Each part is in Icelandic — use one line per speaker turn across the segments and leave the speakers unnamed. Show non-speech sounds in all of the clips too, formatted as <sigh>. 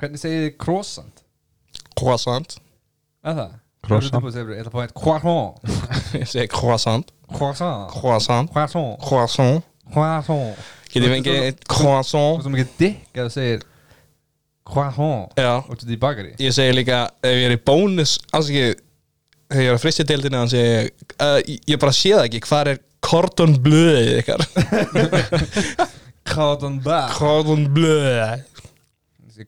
Hvernig segið þið croissant?
croissant <laughs>
Er það?
Croissant.
Ég ætla að fá eitt croissant
Ég segi croissant,
Croissant
croissant,
Croissant
croissant
Croissant
Getið
Þú-
fengið
þú-
eitt croissant
Þú sem ekki dikk að þú segir croissant
Já,
út í því bakari
ég segi líka ef ég er í bónus afsakið, þegar ég er að fristja deildinu þannig segi ég, uh, ég bara sé það ekki hvað er cordon bleu ykkar
Cotton bar
<laughs> cordon bleu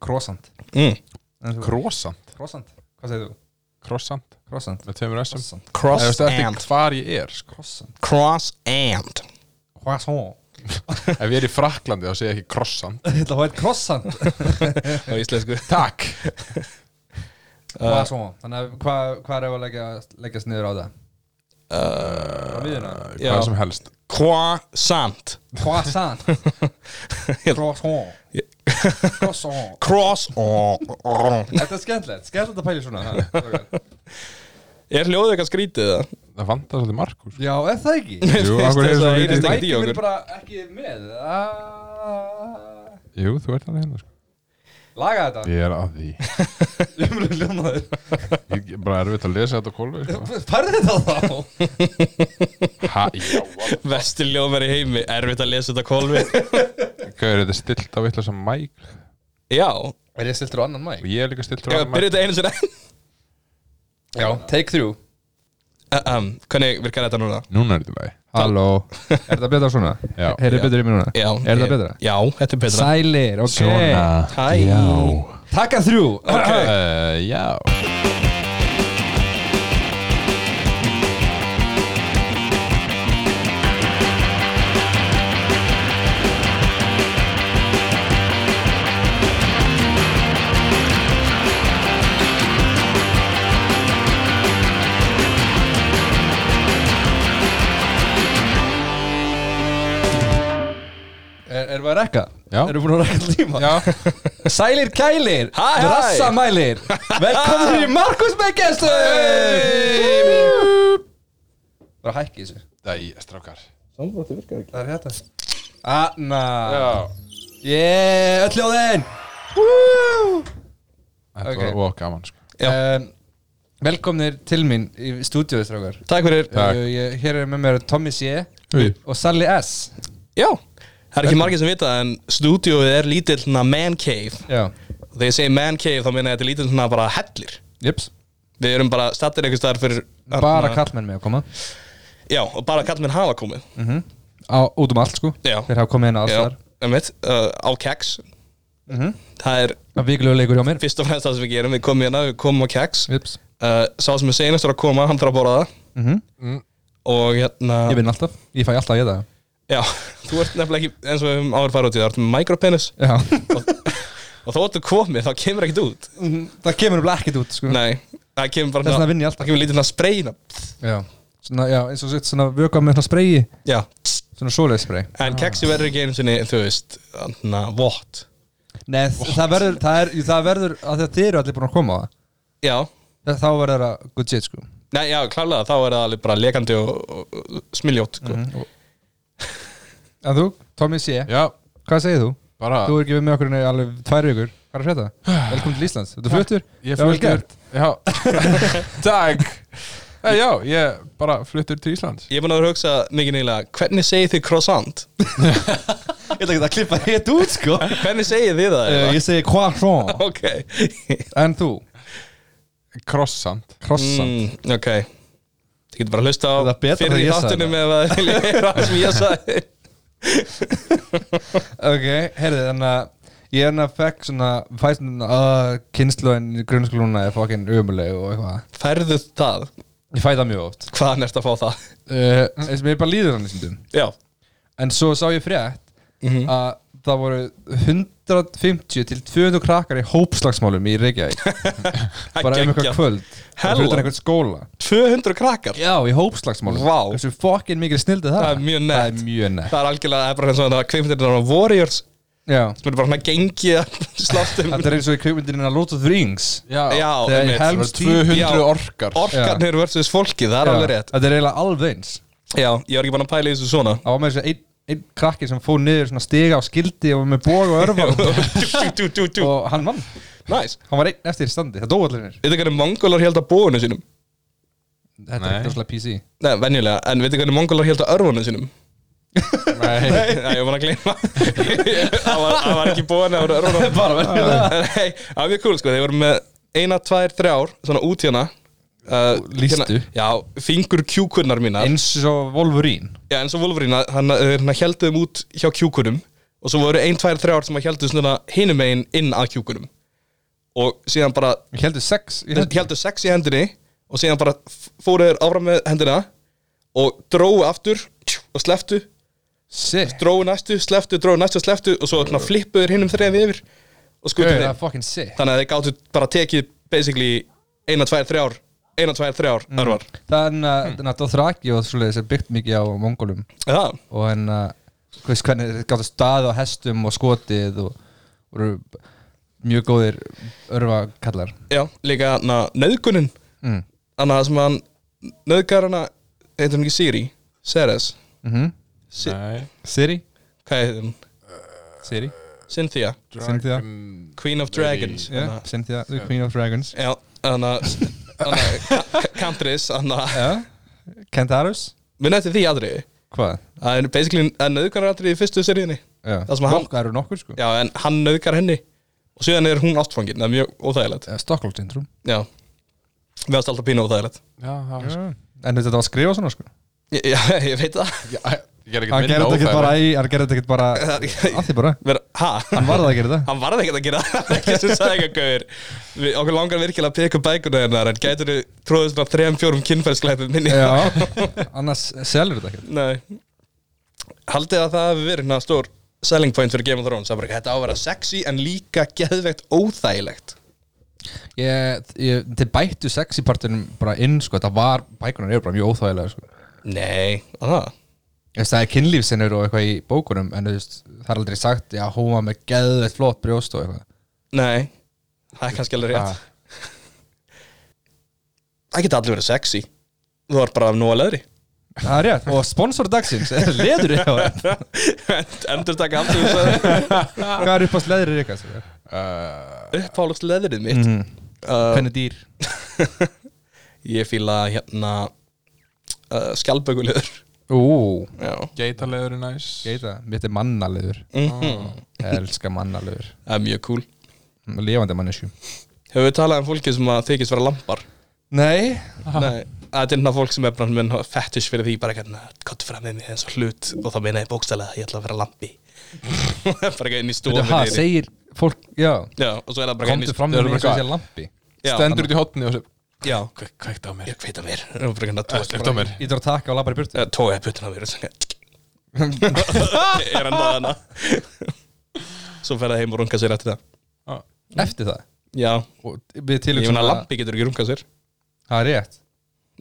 Croissant
mm.
En þú-
Krossant
Croissant Hvað segir þú?
Krossant
Croissant
Með tveimur S-um
Croissant
Það
cross
er eftir
and
hvar ég er sko.
Croissant
cross and
Croissant
Ef ég er í Fraklandi þá segi ég ekki krossant
<laughs> Ég ætla að fá eitt croissant <laughs>
á íslensku
Takk
Hvað svo? Þannig að hvað hva er að leggja, leggjast niður á það? Á
uh,
miðuna?
Já.
Hvað sem helst
croissant
Hvað <laughs> sann? Croissant <laughs> Croissant
<laughs> cross
Þetta er skemmtilegt, skemmtilegt að pæla í svona ha, <laughs> strákar.
er hljóðið eitthvað skrítið það?
Það vantar svolítið
<laughs>
Markus
Já, er það ekki?
Jú,
Finnst
af hverju er
þess
svo
að
lítið-
heyrist ekkert í
Mækjum er
okkur
bara ekki með Ah.
Jú, þú ert alveg hérna sko.
Laga þetta
Ég er að því
Umlega ljómaður
Ég er bara erfitt að lesa þetta á kólfi
<laughs>
sko.
Færði þetta þá
Ha, já
Vestir ljóðmær í heimi, erfitt að lesa þetta kólfi
Hvað er þetta stilt á vitlega sem mæk
Já,
Er ég stiltur á annan
Og
mæk?
ég er líka stilt
ég byrja þetta einu sinni
Já, take through
Uh, um, Hvernig virkar þetta núna?
Núna er þetta lagi
Halló Er þetta betra svona?
Já.
Heyrðu betur í mér núna?
Já,
Er þetta
ég-
betra?
Já, þetta er betra
Sælir, ok
Hæ.
Takka þrjú
uh, Já
Er- Erum við að rekka?
Já.
Erum við búin að rekka allan tíma? Já Sælir kælir
Hæ, hæ.
Rassamælir Velkomin í Markus með gestu Bara hækki þessu
Dæ, strákar
Það er hérna. þetta Anna
Já
Yeah, öll ljóðin
Þetta
Ok.
var óg gaman sko.
um, Velkomnir til mín í stúdíóið strákar
Takk fyrir
Takk.
Uh, ég, Hér er með mér Tommy C
Hey.
og Sally S
Já, það er ekki margir sem vita en stúdíóið er lítill svona man cave
Já
og þegar ég segi man cave þá minna ég að þetta er lítill svona bara hellir
Jöps
Við erum bara stattir einhvers staðar fyrir
Bara kallmenn með að koma
Já, og bara kallmenn hafa komið
Á, Út um allt sko
Já.
Þeir hafa komið inn á alls
Já,
þar
einmitt, uh, á keks
Mhm.
Það er
Það vikulegu leikur hjá mér
fyrst og fremst það sem við gerum Við komum hérna, við komum á keks
Jöps
uh, Sá sem er seinastur að koma, hann þarf að borða það
Mhm.
Mm.
Og hérna
Ég vinn alltaf, ég fæ alltaf að geta
Já, <laughs> þú ert nefnilega ekki eins og við höfum áður farið út í það, þú ert með micropenis
það
og þó ertu komið, þá kemur ekkert út
Það kemur um ekkert út sko.
Nei, það kemur bara
Þess vegna vinn ég
það
alltaf
kemur lítið svona spreyna
já. Svona, já, eins og sett svona vöka með svona spreyi
Já,
Svona svoleið spreyi
en keksi verður ekki einu sinni, þú veist, na, vott
Nei, það verður, það, er, það verður að því að þið eru allir búin að koma á það
Já,
Það- Þá verður það good shit sko
nei, já, klálega, þá er það alveg bara lekandi og, og, og smiljótt sko.
Mhm. En þú, Tommy C,
Já,
hvað segir þú?
bara
Þú er ekki við með okkur í alveg tvær vikur Hvað er að <sighs> frétta? Velkomin til Íslands, þetta fluttur? Já,
Ég
vel
fluttur
gert.
Já, <laughs> takk Hey, já, ég bara fluttur til Íslands
Ég er búin að vera að hugsa mikið nýlega Hvernig segið þið croissant?
Ég ætla ekki að klippa hétt út <laughs> sko
Hvernig segið þið
<laughs>
það?
Eh, Ég segi hvað svo
ok
En þú,
Krossant
krossan
mm, Ok Þið getur bara að hlusta á
Er það betra
fyrir
þegar
í
ég sagði
þáttunum eða <laughs> það sem ég sagði
Ok, heyrðu, þannig að ég hann að fekk svona fæst svona uh, kynnslóðin í grunnskóluna er fokkin umuleg og eitthvað
Færðu það?
Ég fæ það mjög oft
Hvaðan ert að fá það?
uh, eins og mér bara líður hann í sundum
Já
En svo sá ég frétt
Mhm.
að það voru 150 til 200 krakkar í hópslagsmálum í Reykjavík
<laughs>
bara um eitthvað
Geggjað.
kvöld
Hella.
fyrir utan einhvern skóla
200 krakkar
Já, í hópslagsmálum
Vá.
Þessu fokkin mikil snildi það
Það er mjög nett.
Það er mjög nett
Það er algjörlega, það er bara eins og þannig að kveimfindirinn á Warriors
Já
sem er bara hann að gengi að
<laughs>
sláttum
Þetta er eins og í kveikmyndinina Lord of the Rings
Já,
Þegar
einmitt.
ég held-
Það var
helst tíu-
200
já.
orkar
Orkarnir versus fólkið, það er alveg rétt
Þetta er eiginlega alveg eins
Já, ég var ekki bara að pæla í þessu svona
Það var með þess að einn ein
<laughs>
krakki sem fór niður svona stiga á skildi og var með bóg og örfa
Dú, dú, dú, dú, dú.
og hann vann
Næs
Hann var einn eftir í standi, það dói allir hennir
Veitir hvernig mongólar held að búinu sínum?
Þetta er
Nei.
ekki rosalega PC
Nei, venjulega En veitir hvernig mongólar held að örfunum sínum?
Nei,
<laughs> Nei, ég var bara
<laughs>
að gleyma Það var, það var ekki búin að örfunum
Bara verður
Nei, það var mjög cool sko Þeir voru með eina, tvær, þrjár Svona út hérna uh,
Lýstu?
Já, fingur kjúkunnar mínar
Eins og Wolverine
Já, eins og Wolverine Hann hérna helduðum út hjá kjúkunum Og svo voru ein, tvær, þrjár sem að helduð svona hinum megin inn að kjúkunum Og síðan bara
Ég heldur sex í
Þeir
hendi.
helduð sex í hendinni Og síðan bara f- fóru þeir áfram með hendina Og dróu aftur tjú, Og sleftu
Sick
Dróu næstu, sleftu, dróu næstu, sleftu Og svo hérna, flippuðu þeir hinum þrejum yfir Og skutu
Gauð, það
þeim
er fucking sick
þannig að þeir gáttu bara tekið basically eina, tvær, þrjár eina, tvær, þrjár örvar
Þannig að þannig að Dothraki hérna, og svoleiðis er byggt mikið á mongolum
ja.
og en að þú veist hvernig þeir gáttu stað á hestum og skotið og voru mjög góðir örvakallar
já, líka na, nöðgunin
mm.
þannig að sem hann nöðgar hana heitir hann ekki Siri, Ceres
mm -hmm.
si
nei
Siri
hvað heitir hann,
Siri
Cynthia
Cynthia.
Queen of Dragons
yeah.
hana.
Cynthia, the Queen of Dragons
hérna. já, þannig að Cantris, þannig að
yeah. Kentarus
minn eftir því aðri
Hvað?
það er basically að nöðgar aðri í fyrstu seríunni
Já.
Það sem hann-
Vá, Það eru nokkur sko
já, en hann nöðgar henni og síðan er hún ástfangin, það er mjög óþægilegt
Eh, Stockholm syndrom
já, við ást alltaf pínu óþægilegt
Já, það var
En þetta var að skrifa svona sko
Já, <laughs> já, ég veit það
Já, Ég er
Hann
ekkert
gerði
minna
þetta ekki bara
óþægilegt
í Hann gerði þetta ekki bara
<laughs>
Að því bara
Ver, ha?
Hann varði að gera þetta
Hann varði ekkert að gera það <laughs> ekki sem sagði eitthvað gauður Við- Okkur langar virkilega að peka bækuna hennar En gætur þið tróðið svona þrejum, fjórum kynferðsklæpum minni
Já, <laughs> annars selur þetta ekkert
<laughs> Nei Haldið að það hafi verið hérna stór selling point fyrir Game of Thrones Það er bara, Þetta á að vera sexy en líka geðveikt óþægilegt
ég, ég, Þeir bættu sex í partinum bara inn sko, það var, bækunar eru bara mjög óþægilega sko.
Nei, að
Ég veist, Það er kynlífsinnur og eitthvað í bókunum en þú veist, það er aldrei sagt já, hún var með geðveitt flott brjóst og eitthvað
Nei, það er kannski alveg rétt
Ah.
Það geta allir verið sexy Þú var bara af nóga leðri
Það er rétt, og sponsor dagsins Leður ég á það
Endur taka aftur þess að
Hvað er upp á sleður ykkar? sko?
Uh,
uppáhalds leðrið mitt
Mhm.
mm
Hvernig dýr?
Ég fíla hérna uh, skjálpökulegur
Ú,
Já
Geitaleður er næs
geita, mitt er mannalegur Ég elska mannalegur
Mhm. Það er mjög cool
Levandi mannesku
Hefur við talað um fólki sem að þykist vera lampar?
Nei,
Nei Það er hérna fólk sem er bara með fetish fyrir því bara hérna Kott fram með mig eins og hlut og þá meina ég bókstælega að ég ætla að vera lampi <laughs> Bara eitthvað inn í stofunni
þetta
niðri.
segir fólk, já
Já, og svo er það bara
Komdu fram með
Þeir eru
mig eins
bara
og þessi lampi
Já,
Stendur út í hotni og sér
Já,
Kveikt á mér
ég hveit að mér Það er bara hérna
Eh, Slökkt á mér
Ég þarf að taka og labba í burtu
tóa Tóa ég puttun á mér og svo <laughs> Er hann það hana Svo fer það heim og runga sér eftir það
Já.
Eftir það
Já,
og Við
ég
tilöksum
meina lampi getur ekki runga sér
Það er rétt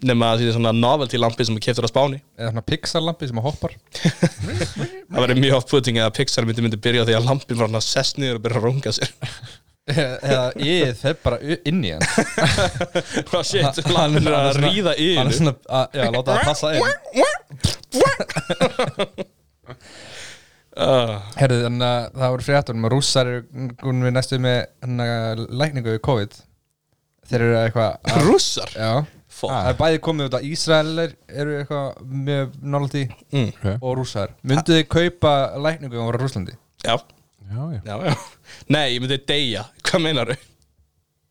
nema að það sé svona novelty lampi sem er keftur á spáni
Eða svona Pixar lampi sem að hoppar
það væri mjög off-putting eða Pixar myndi myndi byrja á því að lampin var hann að sess niður og byrja að runga <laughs> sér
Eða ég þeir bara u- inn
<laughs>
í hann
hvað shit,
Hann-
lampin er
hann
að
svona-
ríða
Hann
yfir
er svona að, Já, láta það passa inn
<laughs> uh,
Herðu, þannig að það voru fréttunum að rússar eru hún við næstu með hana, lækningu við COVID Þeir eru eitthvað að-
rússar
Já
Fuck.
Það er bæði komið út að Ísraelir eru eitthvað með nálægt í
mm,
og rússar Myndu þið kaupa lækningu um að voru rússlandi?
já,
Já, já
<laughs> já, já nei, ég myndi deyja, hvað meinar þau?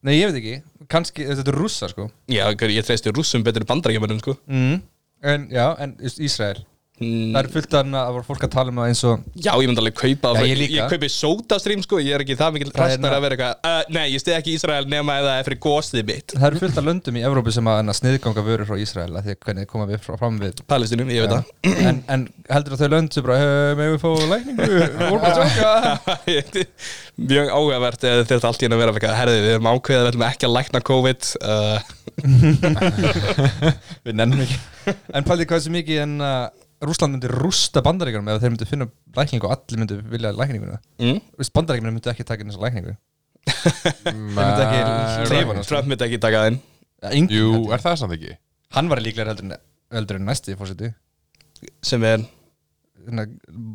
Nei, ég veit ekki, kannski, þetta er rússar sko
já, ég treysti rússum betur bandarækjumunum sko
mm. En já, en just Ísrael
mm,
Það er fullt af að voru fólk að tala um það eins og
já, ég myndi alveg kaupa
Já, ég líka.
ég kaupi sódastrím sko, ég er ekki það mikil
Það er
ræstar
ná-
að vera eitthvað uh, nei, ég stið ekki í Ísrael nema eða efri gósið mitt
Það eru fullt af löndum í Evrópu sem að, en að sniðganga vörur frá Ísrael að því að hvernig koma við frá, fram við
Palestinum, ég veit það <laughs>
en, en heldur að þau lönd sem bara "Eh, Megum við fá lækningu? Við vorum að
<laughs>
tjóka
mjög áhugavert eða þetta allt í henni að vera eitthvað herði, við erum ákveðið að við ætlum ekki að lækna COVID uh,
Við nennum ekki En pældi hvað sem mikið en að Rússland myndi rústa bandaríkjum eða þeir myndi finna lækningu og allir myndi vilja lækninguna
mm?
Bandaríkjum myndi ekki taka inn þessa lækningu
Þeir
myndi ekki leyfa honum, sko.
Trump myndi ekki taka það inn
Ja, enginn
Jú,
heldur.
er það samt ekki?
Hann var líklega heldur, en- heldur en næsti fórseti
sem er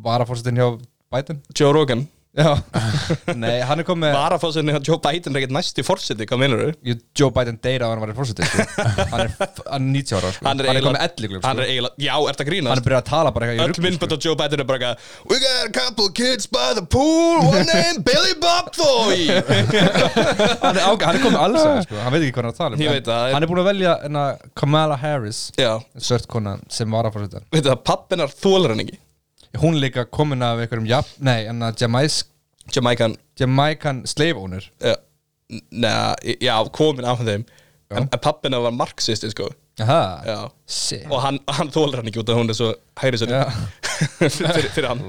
Vara fórsetin hjá Biden
Joe Rogan
Já, <laughs> nei, hann er komið
Varafósinni að Joe Biden er ekkert næst í fórseti, hvað minnur þú?
Jú, Joe Biden deyra á hann var í fórseti sko. hann, er, f- hann er 90 ára sko. hann, er komið 11 glöf
Hann
sko.
er eiginlega, já, ertu að
hann
grínast?
er byrjað að tala bara eitthvað
Öll myndbönd á Joe Biden er bara eitthvað We got a couple of kids by the pool One <laughs> name Billy Bob Thornton."
hann, er ágæ- hann er komið alls að, sko. hann veit ekki hvað hann er að tala um
Ég
En
veit það.
hann er búin að velja enna, Kamala Harris
Já,
sört kona sem var að fórseta
veit það, pappinar þólar hann ekki
hún er líka komin af einhverjum jafn, nei, en að Jamaisk
Jamaican,
Jamaican slave owner
uh, neða, já, komin af þeim En, en pappinar var marxisti, sko
Aha,
Já
shit
Og hann, hann þólar hann ekki út af hún er svo hægri sinni
Já.
<laughs> fyrir, fyrir hann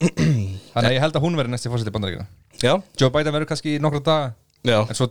Þannig að ég held að hún verði næsti fórseti bandaríkina
Já,
Joe Biden verður kannski í nokkra daga
já, <laughs>
en svo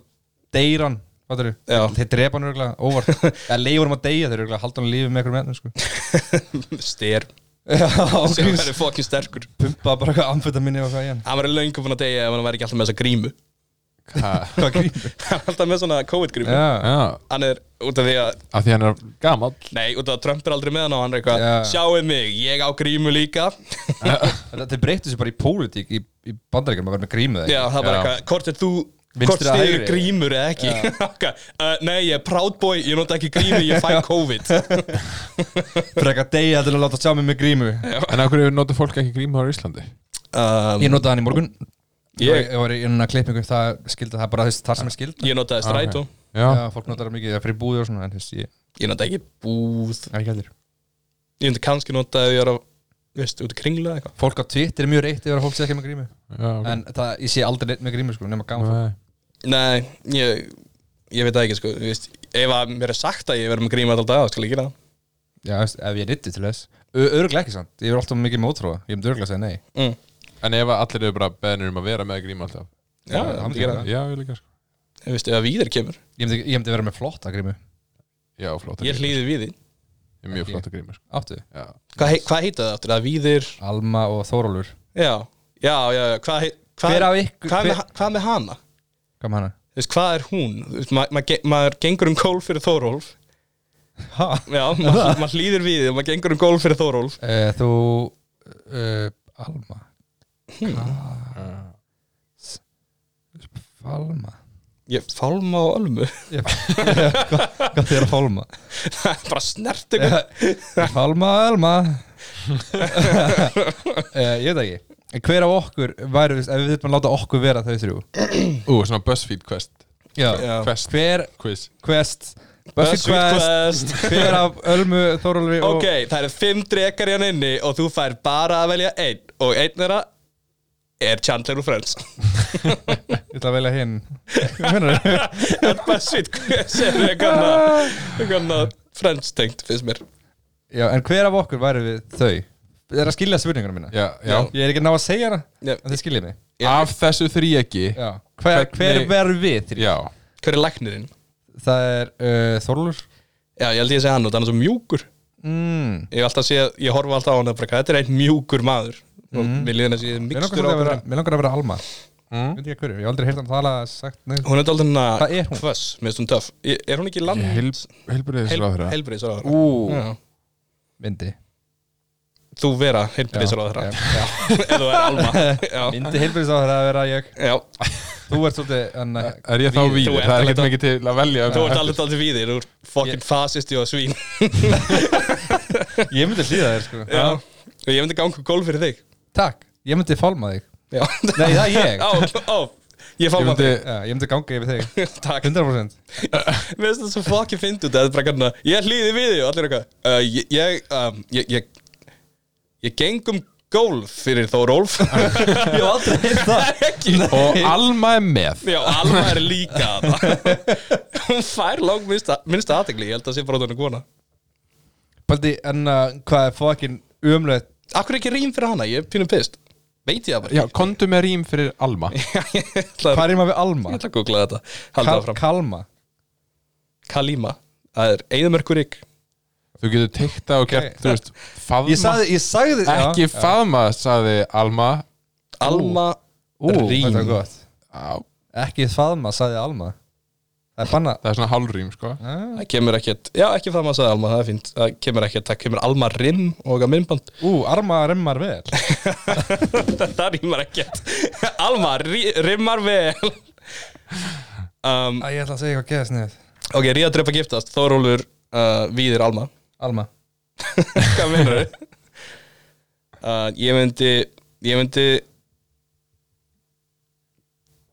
deyr hann fattarðu?
Já.
þeir drepa hann örgulega óvart eða leifur hann að deyja þeir örgulega halda hann lífið með einhverjum hérna sko.
styr Sem
já,
verður fokkin sterkur
pumpa bara eitthvað amfetaminni og eitthvað í hann
Hann verður löngu búin að deyja ef hann væri ekki alltaf með þessa grímu <laughs>
Ha,
hvað grínur
Hann er alltaf með svona COVID-grímu
já,
Já,
Hann er út af því að
af því hann er gamall
Nei, út af að Trump er aldrei með hann og hann er eitthvað
Já.
Sjáum mig, ég á grímu líka <laughs>
þetta þeir breyttu sér bara í pólitík í, í bandaríkjum að vera með grímu
Já, það er bara
Já.
eitthvað, hvort er þú Hvort
Vinstri eða
stigur
hægri?
grímur eða ekki <laughs> uh, Nei, ég er proudboy, ég nota ekki grímu, ég fæ
<laughs>
COVID
frekka deyja til að láta sjá mig með grímu
En af hverju notur fólk ekki grímu á Íslandi?
um,
ég notaði hann í morgun
Ég-
ég, ég var í einna klippingu það skildi það er bara þess þar sem er skild
Ég notaði strætó,
Já,
já, fólk notar það mikið það er fyrir búði og svona en þess ég
ég nota ekki búð
það er ekki heldur
Ég myndi kannski nota ef ég er á, veist, út í kringlu eða eitthvað
fólk á Twitter er mjög reytt yfir að fólk sé ekki með grímu
já, ok
en það, ég sé aldrei neitt með grímu sko nema gaman fólk
Nei.
Nei, ég, ég veit það ekki, sko þú veist, Ef að mér er sagt að ég verður með grímu alltaf dag, skal ég gera
Já, veist, ef ég nýtti til þess Örglega ekki samt, ég er alltaf mikið mótróða Ég myndi örglega að segja nei
það mm.
En ef að allir eru bara beðnir um að vera með grímu alltaf
Já,
Já, ég myndi gera það
Já, ég líka sko
Þú veist, Ef að víðir kemur,
Ég myndi, ég myndi vera með flotta grímu
Já, flott að
ég
grímu
hlýði víði
Ég er Mjög
Ekki.
flott að grímu sko
Áttu,
Já,
Hvað, hei, hvað heita það aftur? Það víðir
Alma og Þórólfur
Já, já, já, já. Hvað, hei- hvað,
Hver af ykkur
hvað,
hver,
með, hvað með hana?
Hvað með hana?
Þú veist, hvað er hún? Þú veist, ma- maður ge- maður gengur um gólf fyrir Þórólf
Ha?
Já,
<laughs>
maður ma hlýðir við þig og maður gengur um gólf fyrir Þórólf
Uh, þú uh, Alma Hvað Alma
Ég fálma á ölmu <laughs>
Ég- Hvað hvað þið er að fálma?
Það er bara snert ykkur
Fálma og Alma uh, Ég veit það ekki En Hver af okkur væri, ef við þurfum að láta okkur vera þau þrjú
Ú, svona BuzzFeed quest
Já.
Quest
Hver
quiz
Quest
Buzzfeed
BuzzFeed Quest
Quest
Hver af Ölmu, Þorólfi og
Ok, það eru fimm drekar í hann inni og þú fær bara að velja einn og einn þeirra er Chandler og Friends <laughs>
Ég ætla að velja hinn Hvað meinar þau?
Það er Buzzfeed Quest er eitthvað eitthvað Friends tengt finnst mér
Já, en hver af okkur væri við þau? Þið er að skilja spurninguna mína
Já, já
Ég er ekki að ná að segja hana
Já.
En þið skiljið mig
Af þessu þríegi
Já Hver, hver
Hvernig-
verður við þrjú?
Já
Hver er læknirinn?
Það er uh, Þorólfur
Já, ég held ég að segja hann út, hann er svo mjúkur
mm.
Ég, hef alltaf séð, ég horfa alltaf á hann og bara, þetta er einn mjúkur maður og mér líðin að sé
Mér Mhm. langar
mikstur á
að vera,
hann
mér langar að vera Alma mm.
Hmm?
Veit ég hverju, ég hef aldrei heyrt hann tala sagt neitt
Hún er alltaf
Hvað
hérna
er hún?
hvöss, mér finnst hún töff Ég- Er hún ekki land?
Helbriðisráðra
Helbriðisráðara
Ú,
Já.
myndi
Þú vera helbriðisráðara Ef þú er
<laughs>
Alma Já,
Myndi heilbyrðis á þeirra að vera ég
já.
Þú ert svolítið en, uh,
Er ég þá
Víðir.
víðir?
Þú ert
Það er
alveg
ekkert mikið til að velja um
Þú ert
það.
alveg alltaf við þér, þú er fokkin
Ég-
fasisti og svín
Ég myndi hlýða þér sko
Já, og ég myndi ganga um gólf fyrir þig
Takk, ég myndi fálma þig
Já, <laughs>
Nei, það er ég
Ó, ó, ég fá
Ég
maður
myndi
Já, ég myndi ganga yfir þig
<laughs> Takk
100%
Mér finnst það svo fokkin fynd út að það er bara kannan að ég hlýði við því og allir eitthvað uh, ég, ég, um, ég, ég, ég geng um gólf fyrir Þórólf Ég hef aldrei hitt það Ekki
Og Alma er með
Já, Alma er líka þarna. <laughs> Hún fær lang minnsta, minnsta aðtegli, ég held að sé bara út hann að kona
Paldi, en uh, hvað er fokkin umlöð
Akkur ekki rým fyrir hana, ég er pínum pist Veit ég það bara
Já, kontu með rým fyrir Alma
ekki <laughs> Ég ætla
Hvað
að-
er maður við
ég
Alma?
ætla að googla þetta Halda
Kal
áfram
Kalma
Kalíma, það er Eðamörkurík
Þú getur teikt það og gert, þú veist
Ég
Faðma
sagði, ég sagði
Ekki
já.
faðma, sagði Alma
Alma
Ú,
rím.
þetta er gott
Á,
Ekki faðma, sagði Alma Það er bannað
Það er svona hálrým, sko
Ah.
Það kemur ekkert, já ekki það maður sagði Alma, það er fínt Það kemur ekkert, það kemur Alma Rim og okkar minnband
Ú, arma remmar vel
<laughs> Það rímar ekkert Alma rí, rimmar vel um,
Æ, Ég ætla að segja eitthvað geðast niður
Ok, ríða drepa giftast, Þórólfur uh, Víðir Alma
Alma
Hvað meinar þau? Uh, ég myndi Ég myndi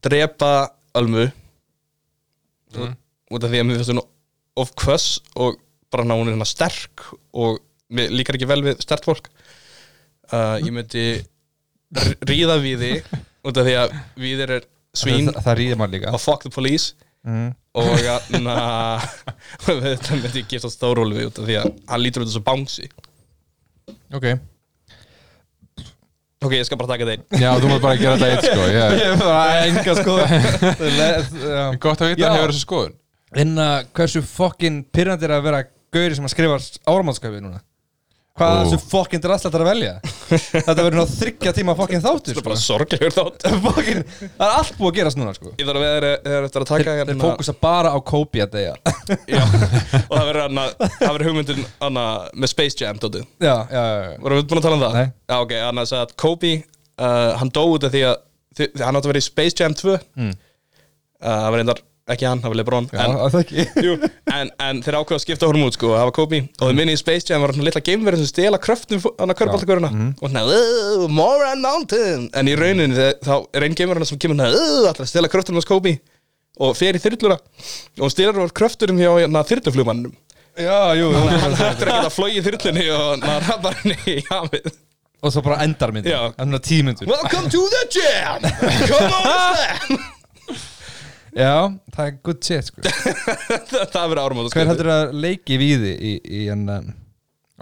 Drepa Almu Mm. Út af því að mér finnst hún Of kvöss og bara ná hún er hérna sterk Og mér líkar ekki vel við stert fólk uh, Ég myndi r- Ríða Víði Út af því að Víðir er svín
Það, það rýðir maður líka
Og fuck the police
mm.
og na, <laughs> þetta myndi ég giftast Þórólfi út af því að hann lítur út þessu bánsi
Ok
ok, ég skal bara taka þeim
Já, þú maður bara gera þetta eitt, sko
Ég
yeah.
er bara enga <laughs> skoðun
Gott að vita
Já.
að hefur þessu skoðun
Inna, hversu fokkin pirrandi er að vera Gauri sem að skrifa áramannskaupi núna Hvað
Ó.
þessu fokkin draslætt er að velja Þetta verður ná þryggja tíma fokkin þáttur
bara
sko.
sorglegur
<laughs>
þátt
Fokkin, það er allt búið að gerast núna sko Hérna-
ég þarf að vera er eftir að
Þeir,
taka hérna
þeir fókusa bara á kópi að <laughs> deyja
já, og það verður hana- það verður hugmyndin hana, með Space Jam dótið
Já, já, já, já.
vorum við búin að tala um það?
Nei.
já, ok, hann sagði að Kobe uh, hann dó út af því að því, því- hann átti að vera í Space Jam 2 mm. uh, það var reyndar ekki hann, það var Lebron
já
en,
það ekki
<laughs> Jú, en, en þeir ákveða að skipta honum út sko, hafa Kobe og þau minni í Space Jam var hann litla geimverðin sem stela kröftum hann að körpaltaköruna
Mm.
og hann að "Ugh, Moran Mountain en í rauninni þe- þá er einn geimverðin sem kemur hann að allra stela kröftum hans Kobe og fer í þyrluna og hann stelar hann kröfturum hjá hérna, þyrluflugmannum
Já, jú, jú
<laughs> hann hættir að geta flogið í þyrlunni og hann rappar henni í hafið
Og svo bara endar myndin
Já.
Þannig að tímyndur
Welcome to the jam Come on Stan
Já, það er good shit <laughs> sko
<laughs> Það það verður sko. árum
Hver heldur að leiki við í, í, í en, um,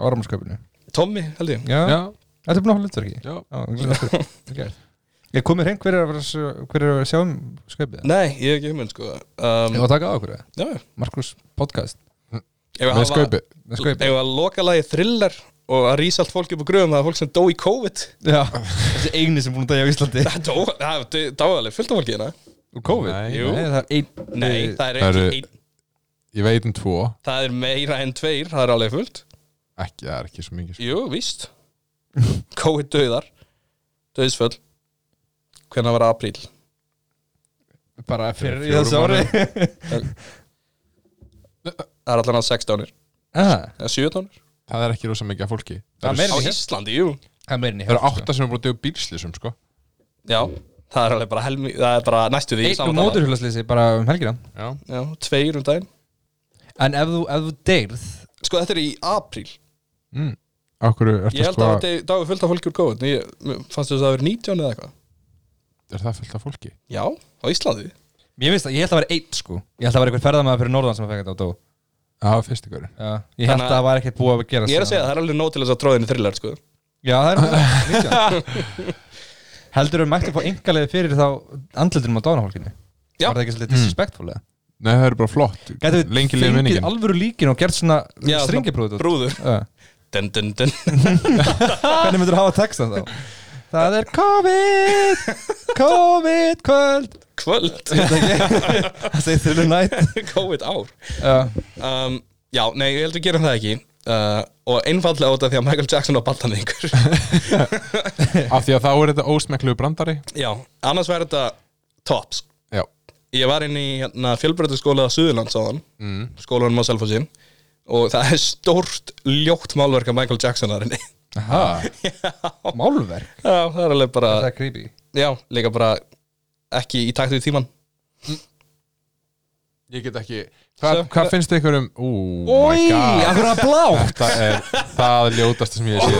áramannskaupinu?
Tommy held ég
Já,
Já,
Þetta er búin að hafa hlutverki?
já
Já, já Ég komið hrein, hver er að, vera s- hver er að sjá um skaupið?
Nei, ég hef ekki hugmynd sko um,
Ég var að taka á okkur eða?
Já, já
Markus podcast
Ef
Með skaupi
með
Ef
skaupið
að loka lagi thriller og að rísa allt fólk upp á gröfum það er fólk sem dó í COVID
Já, þessi eigni sem búin að dæja á Íslandi
<laughs> Það dó, það dó- dó alveg fullt af fólki hérna
Úr COVID?
Nei,
jú.
Nei, það er einn
Nei, það er
Það
ekki
eru-
ein,
Ég veit um tvo
Það er meira en tveir, það er alveg fullt
Ekki, það er ekki svo mikið sko.
Jú, víst COVID döðar Döðsföll Hvernig var apríl?
bara fyrir í
Fjórum
þessu ári
Það er allan að 16
Ah,
eða 17
Það er ekki rosa mikið af fólki
Það
Það
er meira
Á
en ég-
Íslandi, jú
Það er sko. meirin í
það eru átta sem er búin að dögu bílslýsum, sko
Já, það er alveg bara helmi Það er bara næstu því
Einn
sama
og
tala.
móturhjólaslýsi bara um helgina
Já
Já, tveir um daginn
En ef þú, ef þú deyrð
Sko, þetta er í apríl
mm. Akkur er
Ég
það
held
sko
að þetta dagur fullt af fólki úr COVID Ég mér fannst þess að það verið 19 eða eitthvað
Er það fullt af fólki?
Já, á Íslandi
Ég veist að ég held að vera einn sko Ég held að vera eitthvað ferðamaður fyrir norðan sem að fengja þetta á dó
Já, það var fyrst ykkur
Já, ég held að
Þannig að-
það var ekkert búið að gera
Ég er að segja, það er alveg nóg til þess að tróðinu þrillar sko.
Já, það er alveg- líka. Heldur þau mætti að fá engalegi fyrir þá andlutinum á dánahólkinni?
Já.
Var það ekki svolítið disrespectful eða?
Nei, það eru bara flott
Gæti við
Lengi liði
fengið
minningin
alvöru líkin og gert svona
Já, svona
stringibrúð út?
Brúður
Já.
dun, dun, dun. <laughs>
Hvernig myndur hafa textan þá? Það er COVID COVID kvöld
Kvöld <laughs>
Það segir þurru nætt
COVID ár
Já,
um, Já, nei, ég held við gerum það ekki uh, Og einfallega út af því að Michael Jackson á baltan yngur
Af því að þá er þetta ósmekklu brandari
<laughs> Já, annars væri þetta tops
Já
Ég var inn í hérna, fjölbreytaskóla Suðurlands á hann mm. Skólanum á Selfossi Og það er stórt ljótt málverk af Michael Jackson þar inni
Aha. Málverk
<laughs> Já, það er alveg bara
Það er creepy
Já, líka bara ekki í takt við tíman
Ég get ekki
Svo-
Hvað hva finnst ykkur um Ú, my
Í,
god
af hverju að blá <laughs>
Þetta er það ljótasta sem ég sé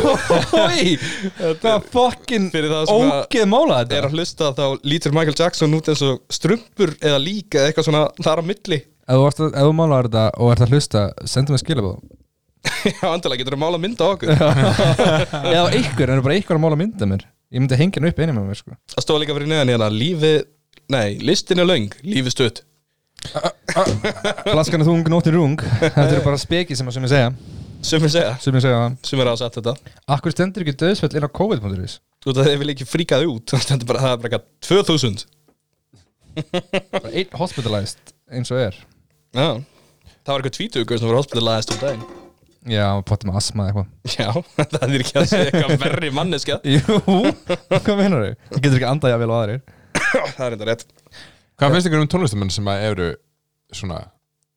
Oi, þetta er fokkin
Fyrir það sem að-
ógeð mála
er
þetta
að hlusta þá lítur Michael Jackson út eins og strumpur eða líka eða eitthvað svona þar á milli <laughs>
Ef þú, varst að- ef þú málaðar þetta og ert að hlusta sendu mig skilabóð
Já, andalega getur að mála mynda á okkur
Eða á ykkur, en bara ykkur að mála mynda mér Ég myndi hengja hann upp einu með mér sko
Það stóð líka fyrir neðan hérna Lífi, nei, listin er löng, lífi stutt
Flaskan er þung, nóttin <laughs> rung Þetta eru bara speki sem að sem ég segja
sem er segja,
Sem ég segja það
sem er að setja þetta
Akkur stendur ekki döðsfell inn á COVID.is
Þú veit að þeir vil ekki fríkaði út <laughs> Það er bara, það er bara eitthvað 2000
Bara einn hospitalized eins og er
Já Það var eitthvað tvítugur sem var hospitalaðist um daginn
Já, potið með asma eða eitthvað
Já, <laughs> það er ekki að segja eitthvað verri manneska
Jú, <laughs> hvað meinar þau? Það getur ekki andað jafnvel á aðrir
<laughs> Það er þetta rétt
Hvað finnst ykkur um tónlistamenn sem að eru svona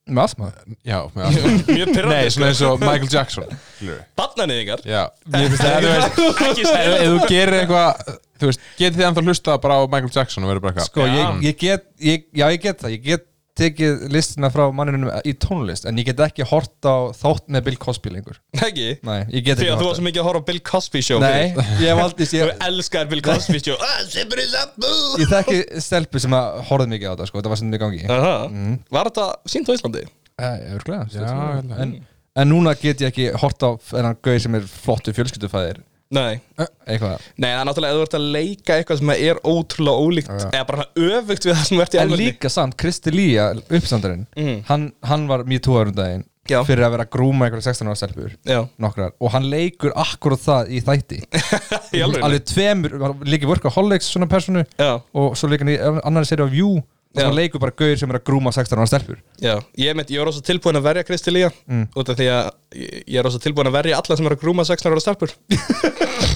Með asma?
Já, með allt
Mjög sko.
Nei,
pyrrandi
svona eins og Michael Jackson skilurðu.
Barnanýðingar
Já, ég finnst það, þú veist
<laughs> Ekki
Ef
segja
ef þú gerir eitthvað, þú veist, getið þið ennþá hlusta bara á Michael Jackson og verður bara eitthvað
Sko,
Já.
ég, ég get, ég, já ég get það Ég get tekið listina frá manninum í tónlist En ég get ekki hort á þátt með Bill Cosby lengur
Ekki
Nei, ég get ekki
Því að þú
horft
varst svo mikið að horfa á Bill Cosby show
Nei, ég hef aldrei
<laughs> Þú
ég,
elskar Bill Cosby show Ah, Sipper is up boo.
ég þekki stelpu sem að horfði mikið á þetta sko, þetta var sem þið gangi uh,
Aha. Mm. Var þetta sínt á Íslandi?
Örglega,
Já, eiginlega.
sko. en, en núna get ég ekki hort á þennan gauð sem er flottu fjölskyldufæðir
Nei
eitthvað
Nei, það er náttúrulega að þú ert að leika eitthvað sem er ótrúlega ólíkt
Já.
eða bara öfugt við það sem þú ert í
En
alveg
líka samt, Kristi Lía, uppstandarinn
Mm.
hann, hann var mjög tóðarum daginn
Já.
fyrir að vera að grúma einhverja 16 ára stelpur
Já,
nokkrar, og hann leikur akkurat það í þætti
<laughs> í alveg
alveg tveimur, hann líka workaholics svona personu
Já,
og svo líka hann í annari seri á View og
Já.
hann leikur bara gauður sem er að grúma 16 ára stelpur
já Ég, mynd, ég var rosa tilbúin að verja Kristi Lía
Mm.
út af því að ég ég er rosa tilbúin að verja alla sem eru að grúma 16 ára
<laughs>
stelpur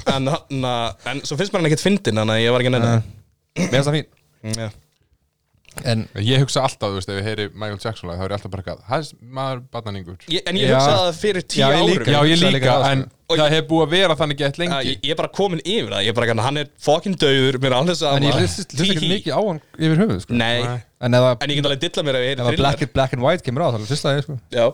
en, na, en svo finnst mér hann ekkert fyndin þannig að ég var ekki neina
mér finnst það fín
Já,
en
Ég hugsa alltaf, þú veist, ef ég heyri Michael Jackson lag, þá er ég alltaf bara eitthvað, hæs, maður, barnaningur
Ég- En ég
Já.
hugsaði það fyrir tíu
Já, ég
árum
líka.
Já, ég
hugsaði
líka,
líka það,
en
sko.
það hefur búið að vera þannig gett
Að
lengi
Ég ég er bara komin yfir það, ég er bara hann, hann er fokkin döður, mér er alveg
En
sama
ég hlust ekki mikið á hann yfir höfuð sko.
Nei,
Nei.
En ef að,
en ég get alveg dilla mér ef ég
ef að
heyri
black,
thriller
black and White kemur á þá hlust það ég sko
Já,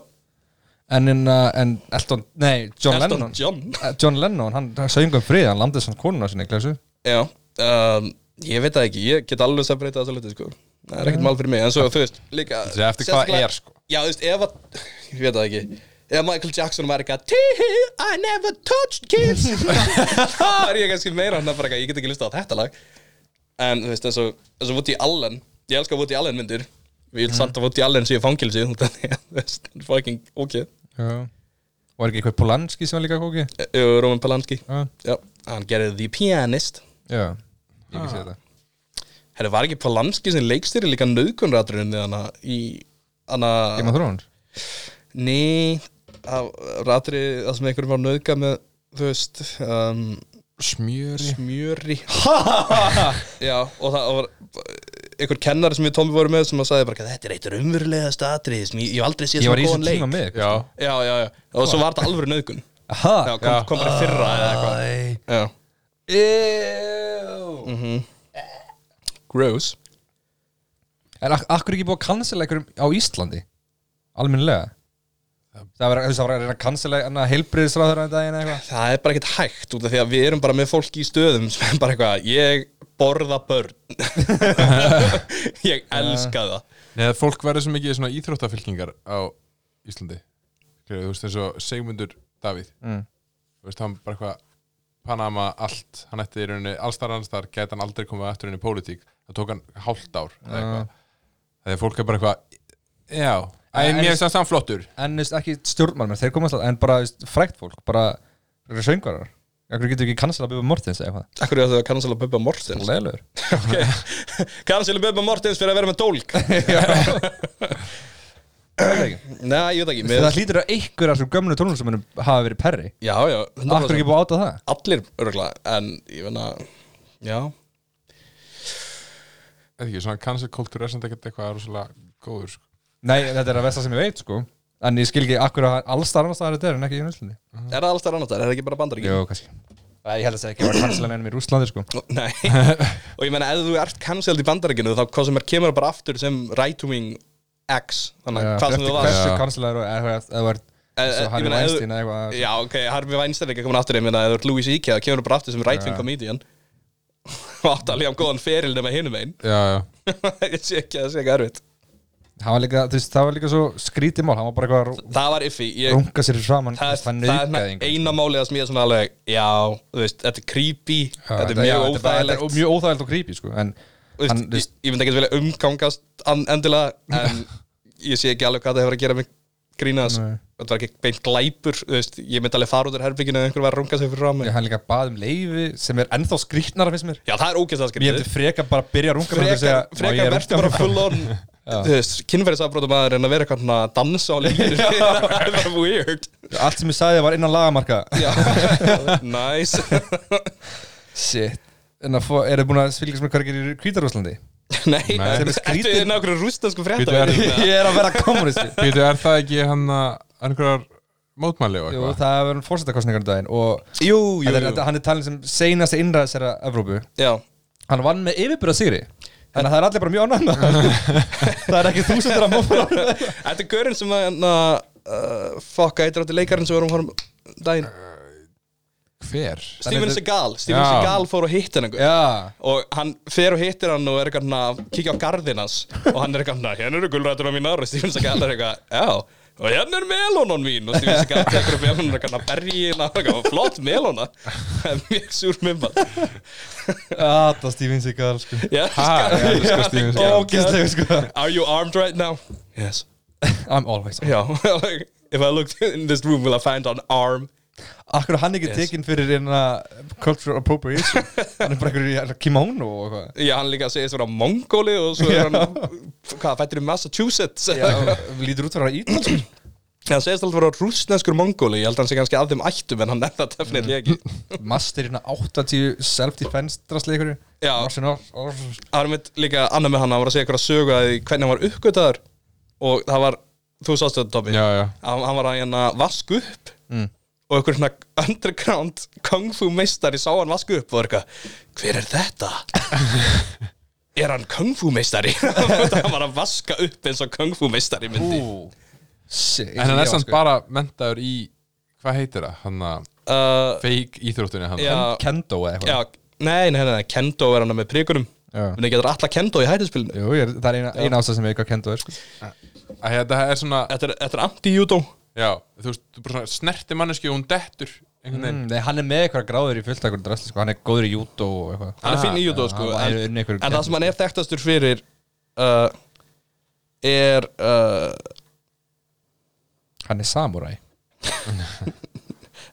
En, en, uh, en Elton, nei, John
Elton
Lennon
John
Eh, John Lennon, hann söng um frið Hann landið svona konuna sinni, glæsu
Já, um, ég veit það ekki, ég get alveg að breyta þessa hluti, sko Það er ekkert mál fyrir mig, en svo, þú veist, líka
Það er eftir hvað
sérstaklega-
er, sko.
Já, þú veist, ef að, <laughs> ég veit það ekki Ef Michael Jackson var eitthvað Tee, I never touched
<laughs>
kids Þá er ég kannski meira hann að bara eitthvað, Ég get ekki listað á þetta lag En, þú veist, eins og, eins og Woody Allen Ég elska Woody Allen myndir Við vil
Mm.
samt að Woody Allen séu fangilsi <laughs> Þú veist, hann er fucking ok
Og er ekki eitthvað Polanski sem var líka kóki
Eh, Roman Polanski
Ah.
Já,
Já, hann gerði The Pianist
já, ég ekki sé þetta
Herri, var ekki Polanski sem leikstýri líka nöðkunratrunni hana í
Game
hana
of Thrones
Ný af ratri það sem einhverjum var að nöðga með þú veist um,
Smjöri
<laughs>
smjöri Já, og það og var einhver kennari sem ég og Tommy voru með sem að sagði bara þetta er eitt raunverulegast atrið sem ég, ég hef aldrei séð
Ég var
svona
í þessum
góðan
tíma
leik
Ah, með ykkur.
Já,
Já, já, já, og svo var þetta alvöru nöðgun Já,
Aha,
kom, kom bara í fyrra eða eitthvað
Æ.
Já,
Ew.
gross
En ak akkur ekki búið að cancela einhverjum á Íslandi Alminlega Það var, þú veist, það var að reyna að cancela En að heilbriðisráður en daginn eða eitthvað
Það er bara ekkert hægt út af því að við erum bara með fólki í stöðum sem er bara eitthvað, ég borða börn <laughs> Ég elska það
neða fólk verður svo mikið svona íþróttafylkingar á Íslandi Skilurðu, Þú veist, eins og Sigmundur Davíð
Mm.
Þú veist, hann bara eitthvað Panama, allt, hann ætti í rauninni allstar annarstar, gæti hann aldrei komið aftur inn í pólitík það tók hann hálft ár eða eitthvað. Þegar fólk er bara eitthvað Já, æ,
En-
mér finnst hann samflottur
en þú veist, ekki stjórnmál menn, þeir komast alltaf, en bara þú veist, frækt fólk bara, þeir eru söngvarar Akkur getur ekki cancela Bubba Mortens eða eitthvað
Akkur er það að cancela Bubba Mortens
<laughs> Leðilegur
okay. <laughs> Cancela Bubba Mortens fyrir að vera með dólk Nei, ég veit ekki mér...
Það hlýtur að einhver af þessum gömlu tónlistamönnum hafa verið perri
Já, já,
Akkur ekki búið að áta það
allir örgulega En ég veit að, já
Eða ekki, svona cancel culture er samt ekkert eitthvað rosalega góður sko.
Nei, þetta er að versta sem ég veit sko En ég skil ekki akkur að allstar annars staðar þetta er en ekki í Íslandi
Er það allstar annar þar, er það ekki bara bandaríkjum?
Jó, kannski Nei, Ég held að það ekki var cancela nefnum í Rússlandi sko
<laughs> Nei, og ég meina ef þú ert cancelled í bandarækinu þá hvað sem er kemur bara aftur sem right-wing X þannig að
Já,
hvað sem
eftir
þú varst
Hversu
Já.
cancelaður og eða eða þú ert
Eh, eh,
Svo
ég
Harry
meina, ef-
Weinstein eða eitthvað
Já, ok, Harvey Weinstein er ekki komin aftur ég meina ef þú ert Louis E.K. þá kemur þú bara aftur sem right-wing
Já.
comedian <laughs> og átt að líka um góðan feril nema hinum einn
Já, já,
<laughs> ég sé ekki að það sé ekki erfitt
Það var líka, þú veist, það var líka svo skrítið mál Hann var bara eitthvað að rú-
Það var iffi ég,
runga sér framan
Eh, það,
Hann
það er
nauðgæði
svona
einhvern.
eina málið sem ég er svona alveg já, þú veist, þetta er creepy þetta
já,
er mjög
þetta er bara- þetta
óþægilegt
er mjög óþægilegt og creepy sko en
Þú veist,
hann, þú
ég,
veist,
ég myndi ekki vilja umgangast an, endilega en
<laughs>
ég sé ekki alveg hvað það hefur að gera með grínas
Nei.
þetta var ekki beint glæpur þú veist, ég myndi alveg fara út úr herbygginu eða einhver var að runga sig fyrir rámi
ég-
já.
hann líka bað um leifi sem er ennþá skrýtnara finnst mér
það er ógeðst að
ég
skrifa
hefði freka bara að byrja að runga mér og
frekar,
segja, "Má ég
frekar
runka
verður bara
<laughs> mér?"
full on þú veist, kynferðisafbrótamaður en að vera eitthvað svona að dansa á
<laughs>
lífinu það <laughs> er bara weird
Allt sem ég sagði var innan lagamarka
<laughs> nice <laughs>
Shit En að fó, eru þið búin að fylgjast með hvað gerir í
<laughs>
Kvítarúslandi?
nei,
Nei.
Sem
þetta
er skrítið.
er nákvæmlega rústansku
Bíddu,
frétta
er-
<laughs> Ég er
<laughs>
að vera kommunisti
Býtu, er það ekki hann að einhverjar mótmæli og
Jú,
eitthvað?
það er verið fórsetakostningar um daginn og
jú, jú,
þetta er,
jú.
þetta- hann er talin sem seinast innræðis þeirra Evrópu
já
Hann vann með yfirbyrða sigri Þannig að það er allir bara mjög ánægð með <laughs> það. Það er ekki þúsundur að mófra
þetta er görinn sem að na, uh, fuck, eitthvað átti leikarinn sem við vorum að horfa um daginn
Hver?
Steven
heitir-
Seagal Steven
Já.
Seagal fór og hitt hennar
Já
og hann fer og hittir hann og er eitthvað svona að kíkja á garðinn hans og hann er eitthvað svona, hérna eru gulrætuna mínar og Steven Seagal er eitthvað, já og hérna er melónan mín og Steven Seagal tekur upp melónan og er eitthvað bergin og eitthvað, flott melóna það er mjög súr minnbald
Ata Steven Seagal sko.
já,
ég elska Steven Seagal.
<laughs> Ógeðslega sko
are you armed right now? yes
I'm always on
já, <laughs> like, if I look in this room will I find an arm
Akkur er hann ekki
Yes.
tekinn fyrir einna cultural appropriation Hann er bara einhverjum í hérna, kimono og eitthvað
já, hann líka segist vera mongóli og svo er hann hvað, fættir í Massachusetts
Já, lítur út fyrir að íta sko.
Það segist alltaf að vera rúsneskur mongóli, ég held að hann sé kannski af þeim ættum en hann er það definitíli ekki.
Master hérna 80 self-defense drastleikur
Já.
Arsenal Arsenal.
Það var mitt líka annað með hann, hann var að segja eitthvað að sögu að því hvernig hann var uppgötaður og það var, þú sást þetta Tommy,
Já, já.
hann, hann var að hérna vasku upp og einhver svona underground kung fu meistari sá hann vasku upp og var eitthvað, hver er þetta? er hann kung fu meistari? <laughs> hann var að vaska upp eins og kung fu meistari myndi.
Ú, shit,
En hann
já,
er samt
sko.
bara mentaður í, hvað heitir það? Hann að
Uh,
feik íþróttunni hann.
já,
Kendo eða eitthvað
já, nei, nei, nei, nei, kendo er hann með prikunum.
Já.
Menni getur alltaf kendo í hættuspilinu.
Jú, ég, er- það er eina, eina ástæð sem ég veit hvað kendo er sko.
Æ, Þetta er svona,
Þetta er, þetta er anti-judo
já, þú veist, þú bara svona snerti manneski og hún dettur einhvern veginn.
mm, nei, Hann er með eitthvað gráður í fullt eitthvað drastli sko. Hann er góður í judo og eitthvað
Hann er finn í judo sko
hann
En,
er unni einhverjum sko.
en það sem hann er þekktastur fyrir uh, Er uh,
Hann er samurai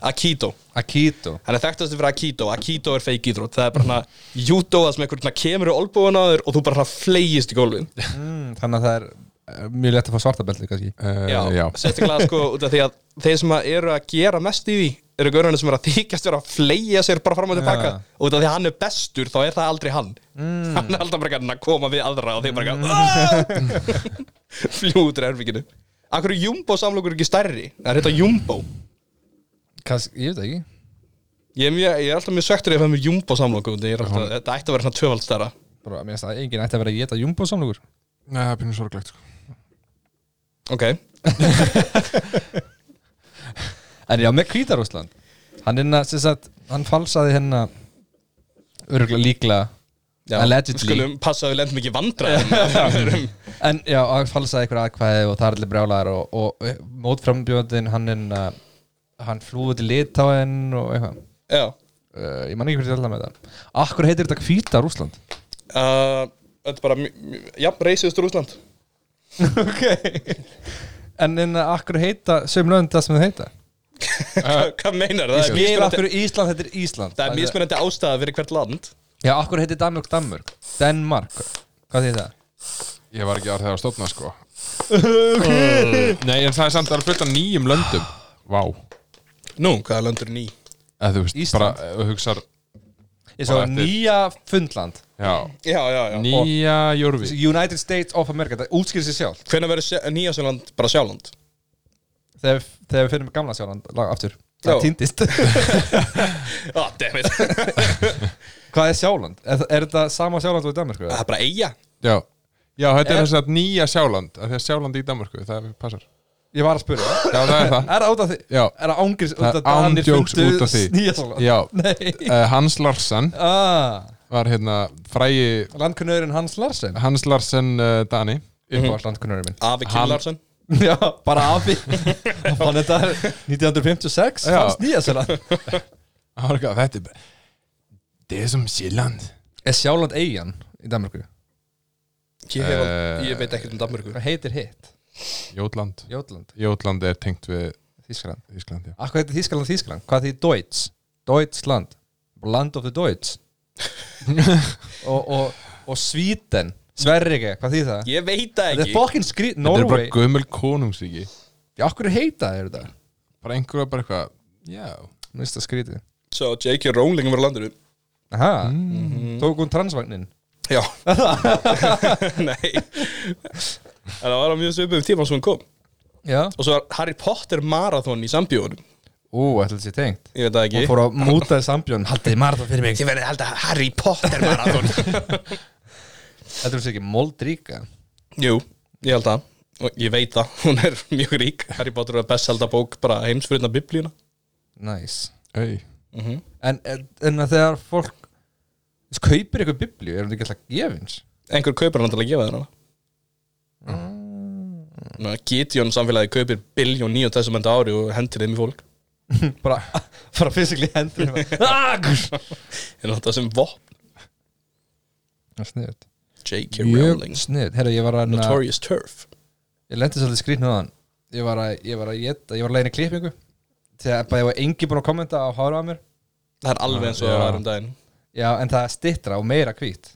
Aikido
Aikido
Hann er þekktastur fyrir Aikido Aikido er feik íþrótt Það er bara hana judo Það sem einhvern veginn kemur í olbúin á þér Og þú bara hana fleigist í gólfin
mm, Þannig að það er eh, mjög lett að fá svarta belti kannski Eh,
Uh,
Já,
já.
sérstaklega sko út af því að þeir sem að eru að gera mest í því eru gaurinu sem eru að þykjast vera að fleigja sér bara fram og tilbaka
Já. Mm.
og út af því að hann er bestur þá er það aldrei hann hann er alltaf bara ekki að koma við aðra og þeir bara Ah! ekki
<laughs>
að fljú út úr erfinginu Akkur er Jumbo samlokur ekki stærri það er þetta Jumbo
Kansk, Ég veit það ekki
ég er, mjög, ég er alltaf mjög svektur ef það er með Jumbo samlokur þetta ætti að vera svona tvövald stærra
Bara, mér finnst það enginn ætti að vera að geta jumbo samlugur
Nei, það er pínu sorglegt, sko.
ok,
En já, með Kvítarúsland Hann hérna, sem sagt, hann falsaði hérna Örgulega líklega
já,
Allegedly.
skulum passa að við lendum ekki
<laughs>
vandra
En já, hann falsaði einhver aðkvæði og það er allir brjálæðar og, og eh, mótframbjóðin hann hérna hann flúði til Litáin og eitthvað
já
uh, Ég man ekki hvernig alltaf með það Akkur heitir þetta Kvítarúsland?
Uh, Þetta er bara, mj- mj- já, reisiðustur Úsland
ok En hérna, akkur heita söm lönd það sem þau heita?
Hva- Hvað meinar það? Er
Ég er
mismunandi,
akkur Ísland, þetta er Ísland
það er mismunandi ástæða fyrir hvert land
Já, akkur heitir Danmörk, Danmörk Denmark, hvað þýðir það?
Ég var ekki að það að stofna, sko. Nei, en það er samt að flytta nýjum löndum. Vá.
Nú, hvaða landur ný?
Eða þú veist,
Ísland.
bara, þú hugsar,
Ég svo
Bara eftir-
nýja Fundland
já,
Já, já, já
nýja jórvi.
United States of America, það útskýrir sér sjálf
Hvenær verður sjá- nýja Sjöland bara Sjáland?
þegar, þegar við finnum gamla sjálfan lag aftur
Já.
það týndist
Ah, damn <laughs> it Það
hvað er sjálfand? Er, er þetta sama sjálfand og í Danmark?
er bara eiga
Já. Já, þetta er
Er-
þess að nýja Sjáland, af því að Sjáland í Danmarku, það passar.
ég var að spyrja
Já, það er <laughs> það.
er það út af því?
Já.
er það ángriðs
Það er ándjóks út af því.
nýja sjálfand?
Já,
nei
Eh, Hans Larsen
ah,
var hérna frægi
landkunnurinn Hans Larsen
Hans Larsen uh, Dani
uppáðast landkunnurinn minn
Afi
Hann-
Killarsson
já bara
<laughs>
afi hann þetta er 1956
Já.
fannst nýja sjálfand
Hann var eitthvað, Þetta er bara- Þetta er sem Sýrland
er sjálfand eigin í Danmarku?
ég, hef
Eh,
al- ég veit ekkert um Danmörku
hvað heitir hitt?
Jótland
Jótland
Jótland er tengt við
Þískland
Ísland já.
Akkur heitir Þískaland Þískaland? Hvað þýðir Deutsch?
<laughs>
Deutschland Land of the Deutsch og, og, og Svíten Sverrige, hvað þýð það?
Ég veit það
Þetta er
ekki
fucking skrít,
Þetta er bara
Norway
gömul konungsríki
Já, okkur heita þeir þetta
Bara einhverja bara eitthvað Já,
Mér finnst það skrítið
Svo J.K. Rowling var á landinu
Aha,
Mhm.
tók hún transvagnin
Já <laughs> Nei En það var á mjög svipum tíma sem hún kom
Já
Og svo var Harry Potter marathon í sambjónum
Ú, ætla þetta sé tengt
Ég veit það ekki
Hún fór að múta í sambjón Haldið marða fyrir mig
Ég verði held að Harry Potter marathon
Þetta er sér ekki moldríka
Jú, ég held það Og ég veit það, hún er <laughs> mjög rík Harry Potter er best selda bók bara heimsfyrirna biblíuna
Nice
ei Mhm.
En, en, en að þegar fólk þess, kaupir eitthvað biblíu, er hún ekki alltaf gefins?
Einhver kaupar hann til að gefa þér hana mm. Gideon samfélagi kaupir biljón nýjum þessum enda ári og hendir þeim í fólk
<laughs> Bara, bara fysikli hendur
<laughs>
Ah, Það
En þetta sem vopn
er sniðut
J.K.
Mjög
Rowling
sniðut Herra, ég var að
Notorious Turf
Ég lendi svolítið skrýtnum á hann Ég var að, ég var að, geta, ég var að leiðin í klippingu Þegar bara ég var engi búin að kommenta á hára að mér
Það er alveg eins og
Já.
það var um daginn
Já, en það stittra og meira hvít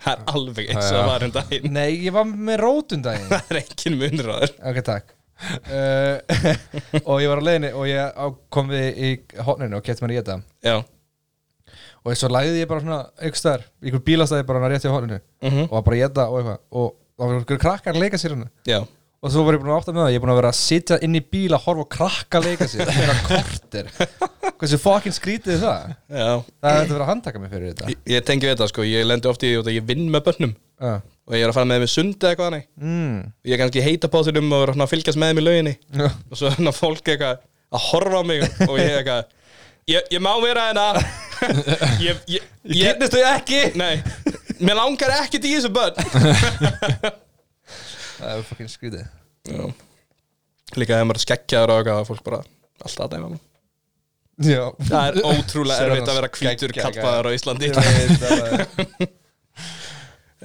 Það er alveg eins og
Já.
það var um daginn <laughs>
Nei, ég var með rótundaginn
Það er engin munur á þér
Ok, takk uh, <laughs> Og ég var á leiðinni og ég á- kom við í hotninu og kett mér í þetta
Já
Og svo lagði ég bara svona einhvers staðar, í einhver bílastæði bara hann rétt í hotninu
Mhm.
Og var bara í þetta og eitthvað Og þá var einhver krakkar að leika sér hann
Já
Og svo var ég búin að átta með það, ég er búin að vera að sitja inn í bíl að horfa og krakka að leika sér Það er kortir Hversu fucking skrítið er það?
Já
Það er þetta verið að handtaka mig fyrir þetta
Ég, ég tengi við þetta sko, ég lendi oft í því að ég vinn með börnum
uh.
og ég er að fara með þeim í sund eða eitthvað hannig
mm.
ég er kannski heita på þeirum og er svona að fylgjast með þeim í lauginni
Já.
og svo er svona fólk eitthvað að horfa á mig og ég eitthvað ég, ég má vera <laughs> hérna ég, ég, ég,
Kynnist þau ekki?
nei mér langar ekkert í þessu börn
Það er fucking skrítið
Já. líka þegar maður er skeggjaður og eitthvað fólk bara alltaf að dæma mig.
Já
það er ótrúlega
Sér
erfitt
hann
að vera
skeggjaður,
hvítur kallpaður á Íslandi
Ég veit það er-
<laughs>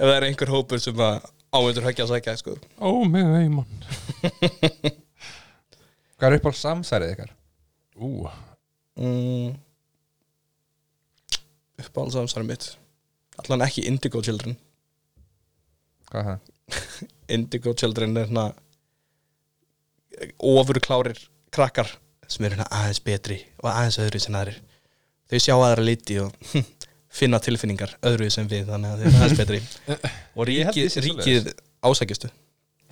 ef það er einhver hópur sem að ávendur höggja að sækja sko.
Ó, með veimann
Hvað er upp á samsærið ykkar?
Ú,
mm. uppáhaldsamsar mitt allan ekki Indigo Children
Hvað er það?
Indigo Children er svona ofurklárir krakkar sem eru svona aðeins betri og aðeins öðru sem aðrir þau sjá aðra liti og hm, finna tilfinningar öðru sem við þannig að þau eru aðeins betri og
<laughs> Ég held
ríkið,
ég sé
ríkið ásækjustu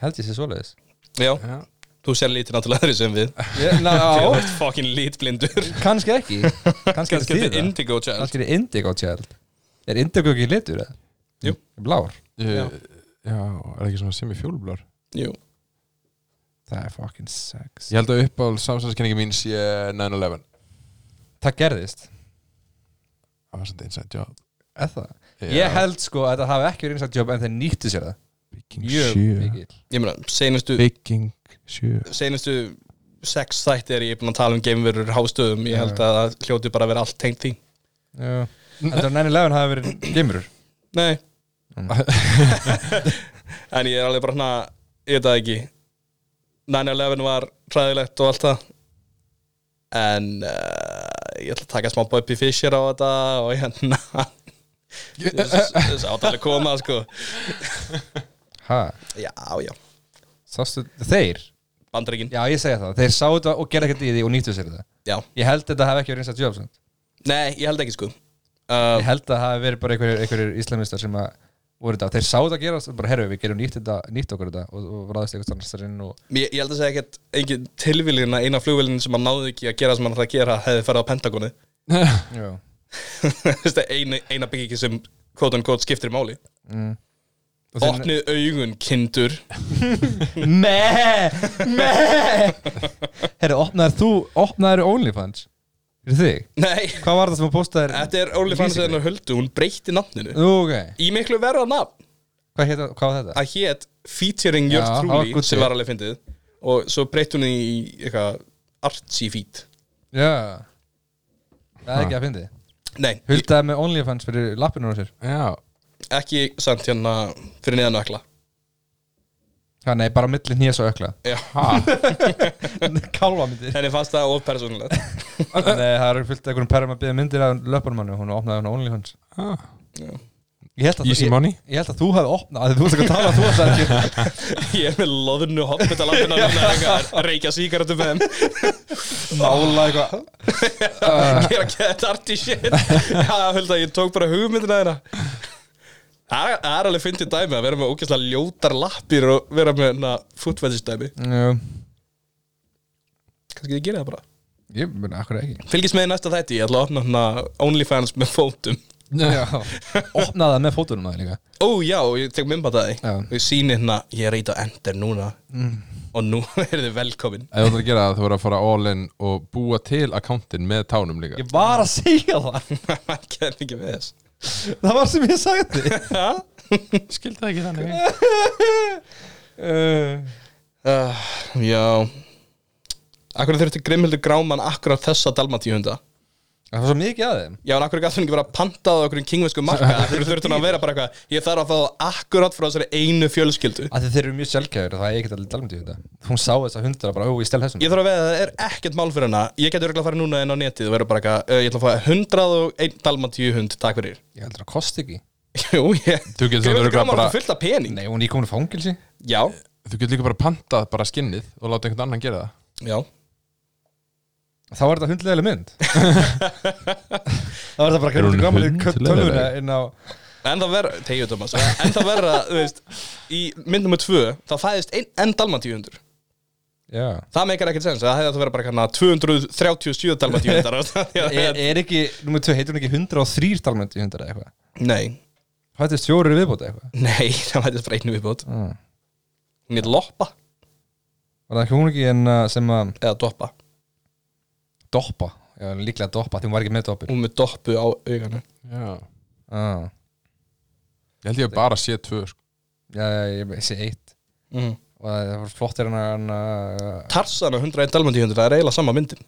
Held ég sé svoleiðis
já,
já
þú sér liti náttúrulega öðru sem við
Ég- ná, <laughs>
þú
á,
ert fokkin litblindur
<laughs> Kannski ekki Kannski
kannski
ekki
þetta er
það
Indigo Child
Kannski er indigo child Er indigo ekki litur eða?
Jú.
Blár
Já.
Ég, já, er það ekki svona sem í fjólblár
Jú.
Það er fucking sex
Ég held að uppáld samsæðskenningi mín sé 9-11
Það gerðist
Það var svona inside job
Eða það? Ég held sko að það hafi ekki verið einsagt jobb en þeir nýttu sér það
Bygging
Mjög
7
mikið
ég meina, seinustu
Bygging 7
<laughs> seinustu sex þættir er ég búin að tala um geimverur hástöðum, ég held að það hljóti bara að vera allt tengt því
Já Þetta er 9-11 hafi verið geimurur
Nei <laughs> En ég er alveg bara hana Ég veit það ekki 9-11 var hræðilegt og allt það En uh, Ég ætla að taka smá Bobby Fischer á þetta Og hérna Þess áttalega koma sko
Ha?
Já, já,
Sástu Þeir?
bandaríkin
Já ég segja það Þeir sáðu það og gerði ekkert í því og nýttu sér það
Já,
Ég held þetta hafi ekki verið einsagt jobb samt.
nei, ég held ekki sko uh,
Ég held að það hafi verið bara einhverjir, einhverjir íslamistar sem að voru þetta, þeir sáðu að gera og bara herru við gerum nýtt, þetta, nýtt okkur þetta og, og ráðist eitthvað stannastarinn og
Ég, ég held að segja ekkert engin tilvílin að eina flugvélin sem hann náði ekki að gera sem hann ætlaði að gera hefði farið á Pentagoni <laughs>
já.
Þetta er eina, eina byggingi sem quote unquote skiptir máli
og þeir-
Opnið augun, kindur <laughs>
Meh, meh <laughs> Herru, opnaðir þú, opnaðir OnlyFans fyrir þig,
Nei,
hvað var það sem að posta þér
þetta er OnlyFans
Lýsingu.
hennar höldu, hún breytti nafninu
Nú, ok,
Í miklu verra nafn
hvað, hét, hvað var þetta?
að hét featuring
Já,
Jörg
það var
Trúli
good
sem
shit.
var alveg fyndið og svo breytti hún í eitthvað artsy feat
Já Það er ekki að fyndi
Nei,
Huldaði með OnlyFans fyrir lappinu á sér
Já,
ekki samt hérna fyrir neðan ökla
Já, nei, bara á milli nýja svo ökla
Já,
<laughs> Kálfa myndir
henni fannst það of persónulegt
eh, Nei, það eru fullt af einhverjum perrum að byggja myndir af löpunum hann og hún opnaði hann á OnlyFans
ah.
Já.
Ég held að,
Easy
ég,
money.
ég held að þú hefði opnað að Þú veist ekki að tala, þú veist ekki
<laughs> Ég er með loðnu hoppetalampina að reykja sígarettu með þeim
Mála eitthvað
<laughs> Ég er að geta darty shit Já, hölda, ég tók bara hugmyndina þeirna Það er- það er alveg fyndið dæmi að vera með ógeðslega ljótar lappir og vera með na, footfetish dæmi
Jú,
Kannski þið gera það bara
Ég muni, akkur ekki
Fylgist með í næsta þætti, ég ætla að opna hana OnlyFans með fótum
Já. Opnaði það með fótunum að líka
Ó já, ég tek minn bara það
Já.
og ég sýni hérna, ég er eitthvað ender núna og nú <laughs> er þið velkomin <laughs>
Ef þú ætlar að gera það, þú verður að fara all in og búa til akkántin með tánum líka
Ég var að segja það
maður kemur ekki með þess
Það var sem ég sagði <laughs>
Ha?
skildi það ekki þannig
uh,
uh, Já Akkur þurfti grimmhildur gráman akkur á þessa dalmatíhunda
Það var svo mikið að þeim
Já, en akkur gæti hún ekki verið að panta á okkur um kingvesku marka Akkur þurfti hún að vera bara eitthvað Ég þarf að fá það akkurat frá þessari einu fjölskyldu
að þeir eru mjög sjálfkæður það er ekkert alveg dalmdi þetta hún sá þess að hundra bara, ó, ég stel þessum
Ég þarf að veða að það er ekkert mál fyrir hana Ég geti örgulega að fara núna inn á netið og vera bara eitthvað "Eh, Ég ætla að fá 101 dalmatíuhund, takk fyrir <laughs>
ég heldur að kosti ekki
Jú, ég
Þú getur
Grimmhildur
örugglega
gráman
bara-
er fullt af pening
nei, hún er íkominu fangilsi
Já,
Þú getur líka bara pantað bara skinnið og láta einhvern annan gera það
já
þá er þetta hundlegaðileg <laughs> mynd þá er þetta bara
Er hún
grunni gamalið
hundleiðileg?
tölvuna inn á
En það verða, tegju Thomas En það verða, þú veist Í mynd nummer tvö, það fæðist ein, enn dalmatíuhundur
já
Það meikar ekkert sens, það hefði átt að vera bara hérna kannar 237 dalmatíundar
<laughs> er, er ekki, nummer 2, heitir hún ekki 103 dalmöndi hundra eitthvað
Nei,
hvað er stjóri viðbóta eitthvað
nei, það mætist bara einu viðbót
Ah.
Hún heit loppa
var það ekki hún ekki en uh, sem að
eða doppa
doppa já, líklega doppa, því hún var ekki með doppir
Hún með doppu á auganu
Já
ah.
Ég held ég hafi bara sé tvö sko.
já, ég sé eitt
mm.
og það var flottir en að
Tarsana 101 dalmatíundur, það er eiginlega sama myndin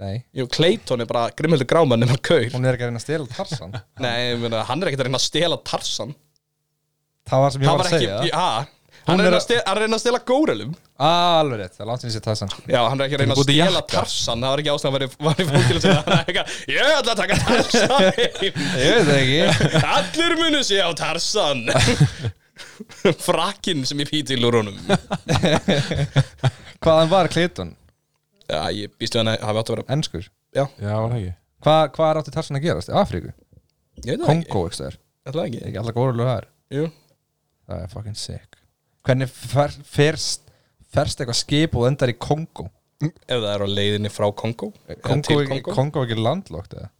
nei,
Jú, Clayton er bara grimmhildur gráman nema kaur
hún er ekki að reyna að stela Tarsan
Nei, ég meina, hann er ekkert að reyna að stela Tarsan
það var sem ég
Hann
var
var
að
ekki,
segja
já Hann
Hún er
er að
að-
stela- hann er að reyna að stela górelum
Alveg rétt, það er langt sinni sér tassan
Já, hann er ekki að reyna að
Þú búið til
stela
jakka.
Tarsan Það var ekki ástæðan að <laughs> var í fólkilu sinna Hann er ekki að, <laughs> ég ætla að taka Tarsan heim
<laughs> Ég veit það ekki
Allir munu sé á <laughs> Tarsan Frakkin sem ég píti í lúrunum
Hvaðan var Clayton?
Já, ég býst við hann að hafi átt að vera
Enskur
Já,
Já, var það ekki
Hva, Hvað er átti Tarsan að gerast? Í Afríku?
ég veit það ekki
Kongo, ekki það er
Ég ætla ekki
Ekki allar górulega það er
Jú
Það er fucking sick Hvernig fer, ferst, ferst eitthvað skip og endar í Kongo?
Ef það er á leiðinni frá Kongo eða
Kongo,
til
ekki, Kongo? ekki landlókt eða?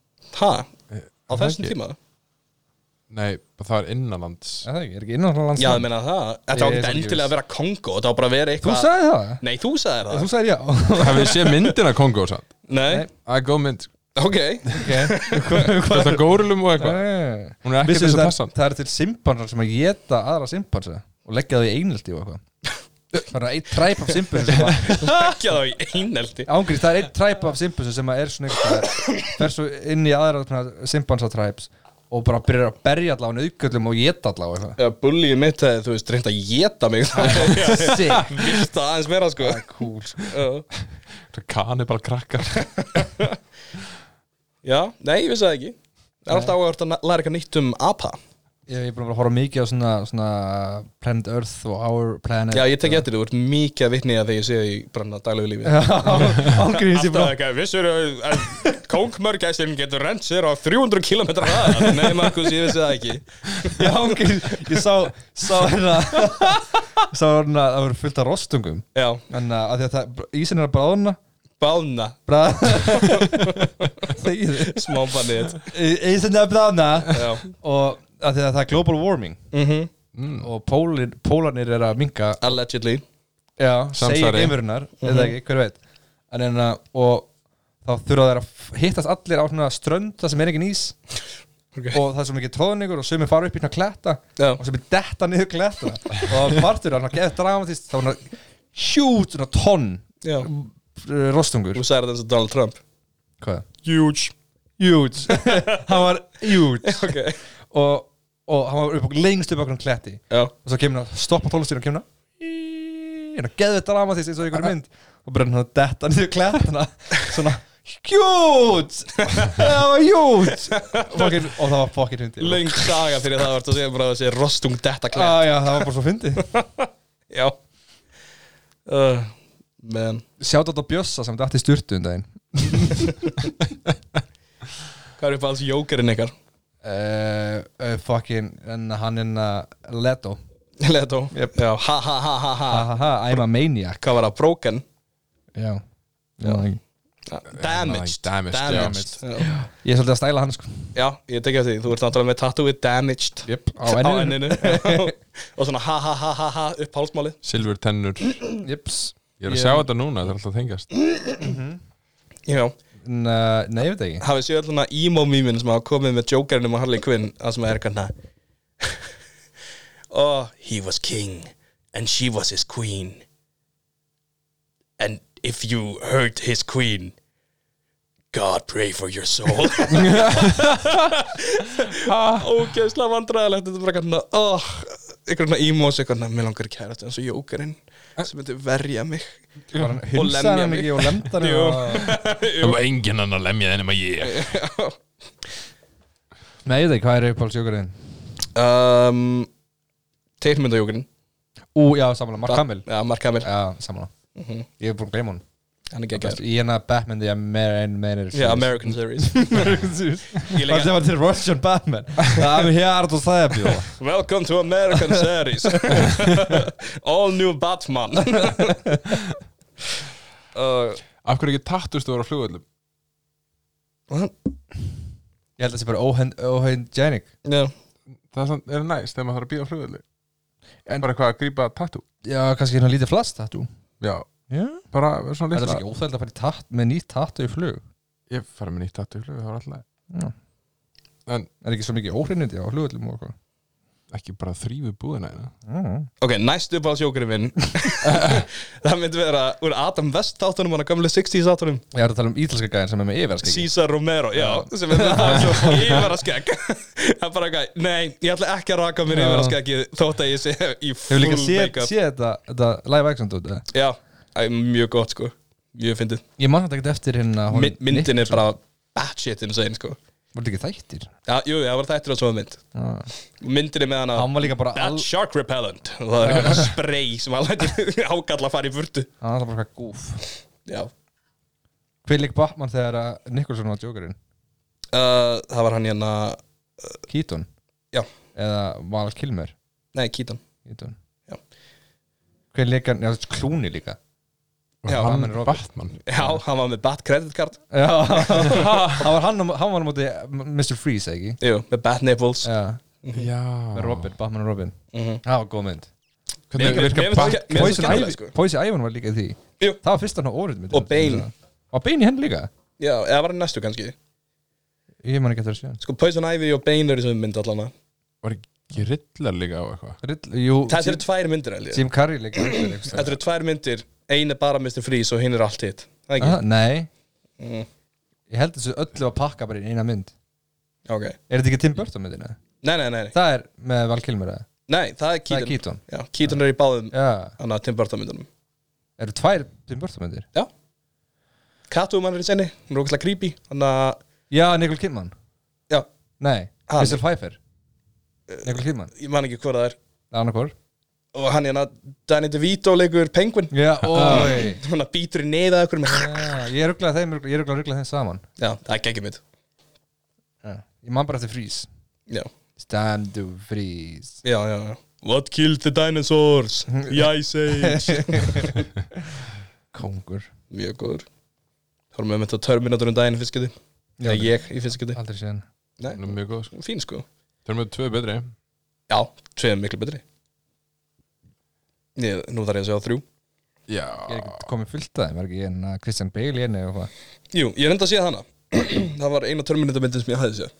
Ha, Eh, á
Er það
þessum
ekki?
tíma
Nei, það er innanlands
Er það ekki? Er ekki innan lands?
Já, ég meina það Þetta á
Ég-
ekki endilega að vera Kongo Þetta á bara að vera
Þú
eitthvað
sagði það?
Nei, þú sagðir það
Þú <laughs> sagði já Ok
Hafið þið sé myndina Kongo sann
Nei,
Nei.
Það er góð mynd
ok
<laughs> Hvað- Hvað
Þetta górulum og eitthvað
Nei.
Hún er ekki
Vissið
eins og
það-
Tarzan.
Það er til simpansar sem að geta aðra simpansa og leggja það í einelti <laughs> og eitthvað Það er einn træp af simpansar sem að
Leggja þá í eineldi
Ángrið, það er einn træp af simpansa sem að er svona eitthvað fer svo inn í aðra simpansa træps og bara byrjar að berja allavega nauðgöllum og geta allavega
Já, bullið mitt hefði, þú veist, reynd að geta mig
eitthvað Sick
Vilt það aðeins meira, sko
Cool sko.
Já.
Þetta kanni bara krakkar
Já, nei, ég vissi það ekki Það er alltaf áhört að læra eitthvað nýtt um apa
Ég ég er búin að vera að horfa mikið á svona, svona Planet Earth og Our Planet
Já, ég tek eftir, þú ert mikið að vitni að þegar ég sé því branna daglegu lífi
Ángrið sem bara
ekki, vissur að kóngmörgæstin getur rent sér á 300 km hraða <laughs> Nei, Markus, ég vissi það ekki
Já, ángrið, ég sá sá hérna sá hérna, að það voru fullt af rostungum
Já,
en að af því að það, ísinn er að bráðna
bána, <laughs>
bráð þegið þið
smábannið
Ísinn er að bráðna
Já,
og að því að það er global warming
mhm,
Mm. og pólin, pólanir er að minka
allegedly
já,
Samsvari.
segir heimurinnar eða ekki, hver veit en en að, og þá þurfa þær að f- hittast allir á svona strönd það sem er ekki nýs
Ok.
og það er svo mikið tróðningur og sumir fara upp í svona kletta
Já,
og sem er detta niður klettuna og það var partur að geða dramatist það var svona hjút svona tonn
já
eh, rostungur
Þú sagði þetta eins og Donald Trump
hvað?
Huge
<laughs> hjút hann var hjút
Ok,
og, og hann var upp, á- lengst upp okkur um kletti
já
og svo kemur hann stoppa tólestýrun og kemur hann hérna geðu dramatist eins og í einhverjum mynd og bara hann að detta niður klæðana svona Hjút Það var hjút Fokkin- Og það var fokkin hundi
Löng daga fyrir það vart að segja bara þessi rostung detta klæð
Ah, Já, já, það var bara svo fyndi
Já uh, Men
Sjátt á Bjössa sem dætti styrtu um daginn
Hvað er upp alls jókerinn ykkar?
uh, uh, Fokkin, en hann en að Leto
<laughs> Leto yep. Já, ha ha ha ha ha
ha, ha, ha, I'm a maniac
Hvað var það? Broken?
Já, já.
Damaged
Damaged, já.
Damaged. Já.
Ég er svolítið að stæla hann sko
Já, ég tekja því Þú ert náttúrulega með tattooið Damaged
Jep,
Á
<laughs>
enninu.
Og svona ha ha ha ha ha upp hálsmálið
silfur tennur Ég
Jips
er að sjá þetta núna, þetta er alltaf að tengast
Já
eh, Nei, ég veit ekki
hafið séu alltaf emo mýmin sem hafa komið með Jokerinum og Harley Quinn það sem er kannar <laughs> oh, he was king and she was his queen and if you hurt his queen God pray for your
<laughs>
soul ógeðslega vandræðilegt þetta er bara kannar oh, einhvern veginn emo sem kannar mér langar kærast eins og Jokerinn
Eh.
sem myndi verja mig
Hunsaði
lemja
hann
mig.
ekki og lemta hann
Jú.
og...
Það var enginn annar lemjað ennum að ég
Nei, ég veit ekki, hvað er uppáhaldsjókurinn?
um, teirmynda Jokerinn
Ú, já, samanlega, Mark Hamill Eh.
ja, Mark Hamill Mhm.
Já, samanlega Ég er búin að gleyma hún
hann er geggjær
Í hennar hérna Batman The American Man
Já,
<laughs>
American Series
American Series
Ég líka-
Það sem var til Russian Batman Það er hér og það er bjóða
Welcome to
<laughs>
American Series <laughs> All new
<laughs>
Batman uh,
Af hverju ekki tattust þú voru á flugvöldum?
Ég held að það sé bara óhengjenik
yeah.
Það er samt- er næst þegar maður þarf að býja á flugvöldu Bara eitthvað að grípa tattoo
Já, kannski hérna lítið flast tattoo
Já,
Já
bara svona
Það er
litla
ekki óþægilega að fara í tatt, með nýtt tattoo í flug
Ég fara með nýtt tattoo í flugvöldu, það var alltaf
Er ekki svo mikið óhrinnindi á flugöllum og eitthvað Ah.
ekki bara þrýfu búðina hérna.
Ok, næst upp á
<laughs>
sjókurinn minn Það myndi vera úr Adam West þáttunum hann að gamlega 60s þáttunum
Ég er að tala um ítalska gæðin sem er með yfirskegg
Cesar Romero, já sem er með
<laughs>
það svo yfir að skegg Það er bara eitthvað, nei, ég ætla ekki að raka mér
Já.
yfir að skeggi þótt að ég sé í
Hefur
full
líka séð
make-up
sé þetta, þetta live action dót, eða?
Já, það er mjög gott sko Mjög fyndið
Ég man þetta ekkert eftir hérna honum
Mynd- Myndin
Nick-
er bara batshit insane sko
Var þetta ekki þættir?
Já, jú, það var þættir og svo mynd
Ah.
Myndinni með hana
Hann var líka bara
That
all-
shark repellent Og Það <laughs> er eitthvað spray sem hann lætur <laughs> ágalla að fara í burtu
Það var bara eitthvað gúf
Já
Hver leik Batman þegar að Nicholson var Jokerinn?
uh, Það var hann hérna
Keaton?
Já.
Eða Val Kilmer?
Nei, Keaton
Keaton
Já.
Hver leik hann, já, klúni líka
Og
Já,
hann
hann er Robin. <laughs>
Batman
Já, hann var með bat credit card
Já, það var <laughs> hann, á- hann var á móti Mr. Freeze, eða ekki?
Jú, með bat nipples
Já,
Já
með Robin, Batman og Robin
Mhm.
Það var góð mynd
Hvernig
Mér-
virkar
mér finnst það
Bat-
ekki- mér- finnst
Poison
það skemmtilegt,
Ivy-
sko.
Poison Ivan var líka í því
Jú.
Það var fyrst hann á órið mitt
Og Bane.
Og Bane í henn líka
Já, eða var hann næstu kannski
Ég man ekki eftir að sjá hann
Sko, Poison Ivy og Bane eru sem mynd allana
Var ekki rillar líka á eitthvað
Rill- Jú,
Þessi eru tvær myndir, held ég
Jim Carrey líka eftir einhvers staðar.
Þetta eru tvær myndir Ein er bara Mr. Freeze og hinn er allt hitt Það
Aha,
ekki?
Nei,
Mm,
ég held þessu öllu að pakka bara í eina mynd
Ok
Er þetta ekki Tim Burton myndina?
Nei, nei, nei nei.
Það er með Val Kilmer eða?
Nei, það er
Það er
Keaton
Keaton
Já, Keaton er í báðum
Já,
Þannig að Tim Burton myndunum
eru tvær Tim Burton myndir?
Já Katúum hann er í senni, hún er ógæslega creepy Þannig að,
Já, Nicole Kidman
já,
Nei,
Hann.
Crystal Pfeiffer Nicole Kidman,
ég man ekki hvað það er
annarkor
Og hann hérna, Danny DeVito leikur Penguin
Já, oi
Þannig að býtur í neyða okkur með
Já, ég rugglaði þeim, ég rugglaði rugglaði þeim saman
Já, það er geggjum mitt
Já. Ég man bara eftir freeze
Já,
It's time to freeze
já, já, já What killed the dinosaurs? The Ice Age
Kongur
Mjög góður Horfum við með þetta Terminator um daginn í fyrstskiti
Já,
Eða ég í fyrstskiti
Aldrei séðan
Nei,
Nú, Mjög góð sko.
fín sko
Þeir eru með tvö betri
Já, tveið er miklu betri Ég, nú þarf ég að segja á þrjú
Já
Ég er ekki komið fullt að þeim, var ekki ég en að Christian Bale í henni og hvað
Jú, ég reyndi að sé hana <clears throat> Það var eina Terminator myndin sem ég hafði séð